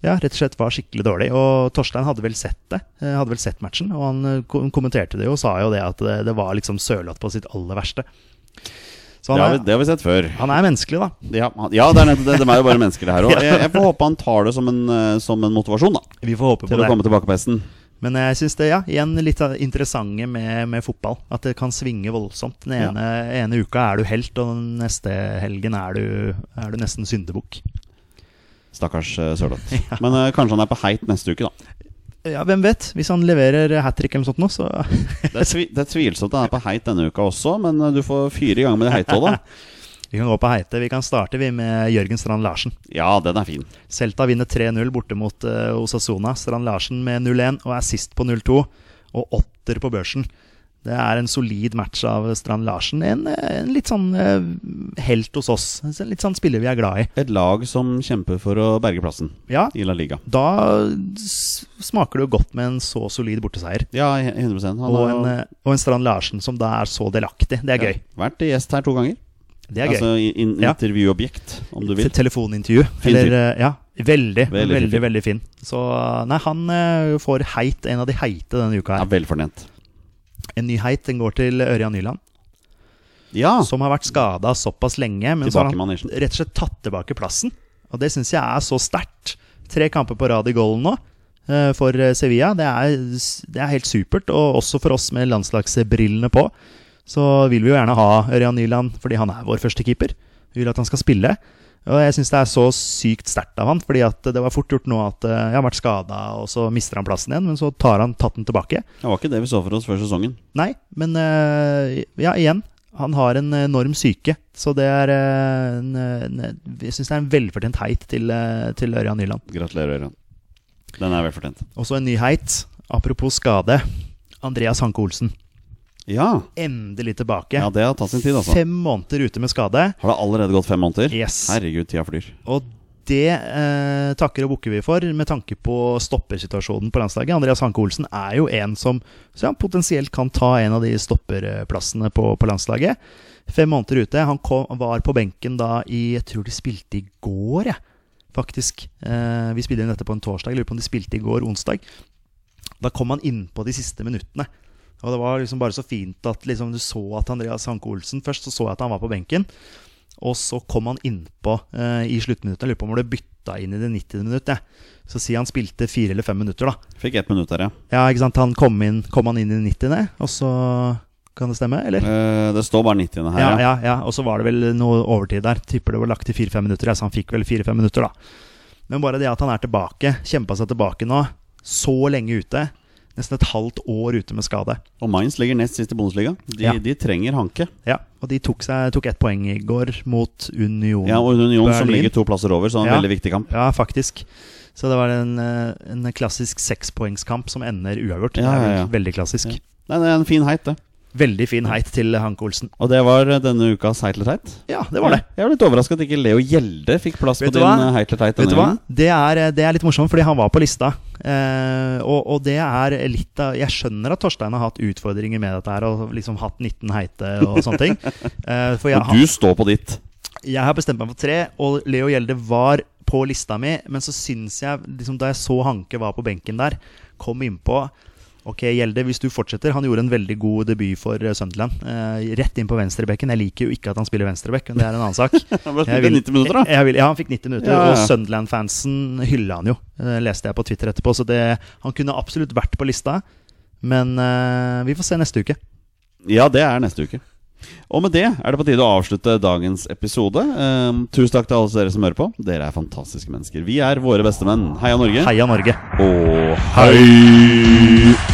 Speaker 1: ja, rett og slett var skikkelig dårlig. Og Torstein hadde vel sett det, eh, hadde vel sett matchen, og han eh, kom- kommenterte det jo og sa jo det at det, det var liksom Sørloth på sitt aller verste.
Speaker 2: Det har,
Speaker 1: Så
Speaker 2: vi,
Speaker 1: han er,
Speaker 2: det har vi sett før.
Speaker 1: han er menneskelig, da.
Speaker 2: Ja, han- ja det er nettopp det. De er jo bare mennesker, det her òg. Jeg, jeg får håpe han tar det som en, eh, som en motivasjon da
Speaker 1: Vi får håpe på
Speaker 2: til å
Speaker 1: det.
Speaker 2: komme tilbake på hesten.
Speaker 1: Men jeg syns det, ja, igjen litt av det interessante med, med fotball. At det kan svinge voldsomt. Den
Speaker 2: Ja.
Speaker 1: ene, ene uka er du helt, og den neste helgen er du, er du nesten syndebukk.
Speaker 2: Stakkars eh, Sørloth. Men eh, kanskje han er på heit neste uke, da.
Speaker 1: Ja, hvem vet? Hvis han leverer hat trick eller noe sånt nå, så
Speaker 2: Det er, tvi det er tvilsomt han er på heit denne uka også, men eh, du får fyre i gang med det heite òg, da.
Speaker 1: Vi kan gå på heite. Vi kan starte vi med Jørgen Strand Larsen.
Speaker 2: Ja, den er fin.
Speaker 1: Celta vinner 3-0 borte mot eh, Osasuna. Strand Larsen med 0-1 og er sist på 0-2. Og åtter på børsen. Det er en solid match av Strand Larsen. En, eh, en litt sånn eh, helt hos oss. En litt sånn spiller vi er glad i.
Speaker 2: Et lag som kjemper for å berge plassen
Speaker 1: Ja,
Speaker 2: i La Liga.
Speaker 1: da s- smaker det jo godt med en så solid borteseier.
Speaker 2: Ja, 100 Han
Speaker 1: Og en,
Speaker 2: har
Speaker 1: eh, og en Strand Larsen som da er så delaktig. Det er gøy.
Speaker 2: vært gjest her to ganger.
Speaker 1: Det er gøy.
Speaker 2: Altså i- in
Speaker 1: Ja.
Speaker 2: intervjuobjekt, om du
Speaker 1: Til
Speaker 2: vil.
Speaker 1: Telefonintervju.
Speaker 2: Fin
Speaker 1: Eller,
Speaker 2: fyr.
Speaker 1: eh, ja, veldig,
Speaker 2: Veldig
Speaker 1: veldig,
Speaker 2: fin
Speaker 1: veldig,
Speaker 2: fyr.
Speaker 1: fin. Så nei, han eh, får heit, en av de heite denne uka
Speaker 2: Ja,
Speaker 1: her.
Speaker 2: Velfornent.
Speaker 1: En ny heit, den går til Ørjan Nyland,
Speaker 2: Ja!
Speaker 1: som har vært skada såpass lenge. Men så
Speaker 2: Tilbake Ah.
Speaker 1: har
Speaker 2: i
Speaker 1: han
Speaker 2: manesjen.
Speaker 1: rett og slett tatt tilbake plassen. Og det syns jeg er så sterkt. Tre kamper på rad i golden nå eh, for eh, Sevilla. Det er, det er helt supert. Og også for oss med landslagsbrillene på, så vil vi jo gjerne ha Ørjan Nyland, fordi han er vår første keeper. Vi vil at han skal spille. Og jeg syns det er så sykt sterkt av han, fordi at det var fort gjort nå at eh, jeg har vært skada, og så mister han plassen igjen, men så tar han tatt den tilbake.
Speaker 2: Det var ikke det vi så for oss før sesongen.
Speaker 1: Nei, men eh, ja, igjen. Han har en enorm syke, så det er eh, en, en, Jeg syns det er en velfortjent heit til, eh, til Ørjan Nyland.
Speaker 2: Gratulerer, Ørjan. Den er velfortjent.
Speaker 1: Også en ny heit. Apropos skade. Andreas Hanke Olsen.
Speaker 2: Ja.
Speaker 1: Endelig tilbake.
Speaker 2: ja, det har tatt sin tid, altså.
Speaker 1: Fem måneder ute med skade.
Speaker 2: Har det allerede gått fem måneder?
Speaker 1: Yes.
Speaker 2: Herregud, tida flyr.
Speaker 1: Og det eh, takker og bukker vi for med tanke på stoppersituasjonen på landslaget. Andreas Hanke Olsen er jo en som så han potensielt kan ta en av de stopperplassene på, på landslaget. Fem måneder ute. Han kom, var på benken da i Jeg tror de spilte i går, jeg. Faktisk. Eh, vi spiller inn dette på en torsdag. Jeg lurer på om de spilte i går, onsdag. Da kom han innpå de siste minuttene. Og det var liksom bare så fint at liksom du så at Andreas Hanke Olsen Først så så jeg at han var på benken. Og så kom han innpå eh, i sluttminuttet. Jeg lurer på om han ble bytta inn i det 90. minuttet. jeg. Så si han spilte fire eller fem minutter, da.
Speaker 2: Fikk ett minutt der, ja.
Speaker 1: Ja, ikke sant. Han kom, inn, kom han inn i det 90., og så Kan det stemme, eller?
Speaker 2: Eh, det står bare 90 her,
Speaker 1: Ja, ja, ja. Og så var det vel noe overtid der. Tipper det var lagt til fire-fem minutter. ja, Så han fikk vel fire-fem minutter, da. Men bare det at han er tilbake, kjempa seg tilbake nå, så lenge ute. Nesten et halvt år ute med skade.
Speaker 2: Og Mainz ligger nest sist i Bundesliga. De,
Speaker 1: Ja.
Speaker 2: de trenger Hanke.
Speaker 1: Ja, Og de tok, seg, tok ett poeng i går mot Union.
Speaker 2: Ja, og Union som
Speaker 1: Berlin.
Speaker 2: ligger to plasser over, så det er en
Speaker 1: Ja.
Speaker 2: veldig viktig kamp.
Speaker 1: Ja, faktisk. Så det var en, eh, en klassisk sekspoengskamp som ender uavgjort.
Speaker 2: Ja,
Speaker 1: det er vel
Speaker 2: ja, ja.
Speaker 1: Veldig klassisk.
Speaker 2: Ja. Nei, det er en fin heit, det.
Speaker 1: Veldig fin heit til Hanke Olsen.
Speaker 2: Og det var eh, denne ukas Heit eller teit.
Speaker 1: Ja, det var det.
Speaker 2: Jeg var litt overraska at ikke Leo Gjelde fikk plass
Speaker 1: Vet
Speaker 2: på
Speaker 1: du
Speaker 2: din
Speaker 1: hva?
Speaker 2: eh, Heit eller teit. denne
Speaker 1: Vet du hva?
Speaker 2: gangen.
Speaker 1: Det er, eh, det er litt morsomt, fordi han var på lista. Eh, og, og det er litt av Jeg skjønner at Torstein har hatt utfordringer med dette her, og liksom hatt 19 heite og sånne ting. Eh, for jeg,
Speaker 2: Men du står på ditt.
Speaker 1: jeg har bestemt meg for tre, og Leo Gjelde var på lista mi. Men så syns jeg, liksom, da jeg så Hanke var på benken der, kom innpå Ok, Gjelde, hvis du fortsetter Han gjorde en veldig god debut for eh, Sunderland. Eh, rett inn på venstrebekken. Jeg liker jo ikke at han spiller venstrebekk, men det er en annen sak.
Speaker 2: Han bare
Speaker 1: Jeg
Speaker 2: spilte
Speaker 1: vil-
Speaker 2: 90 minutter, da.
Speaker 1: Jeg, jeg vil, ja, han fikk 90 minutter.
Speaker 2: Ja, ja.
Speaker 1: Og Sunderland-fansen hylla han jo, eh, leste jeg på Twitter etterpå. Så det, han kunne absolutt vært på lista. Men eh, vi får se neste uke.
Speaker 2: Ja, det er neste uke. Og med det er det på tide å avslutte dagens episode. Eh, tusen takk til alle dere som hører på. Dere er fantastiske mennesker. Vi er våre beste menn. Heia Norge.
Speaker 1: Heia Norge!
Speaker 2: Og hei!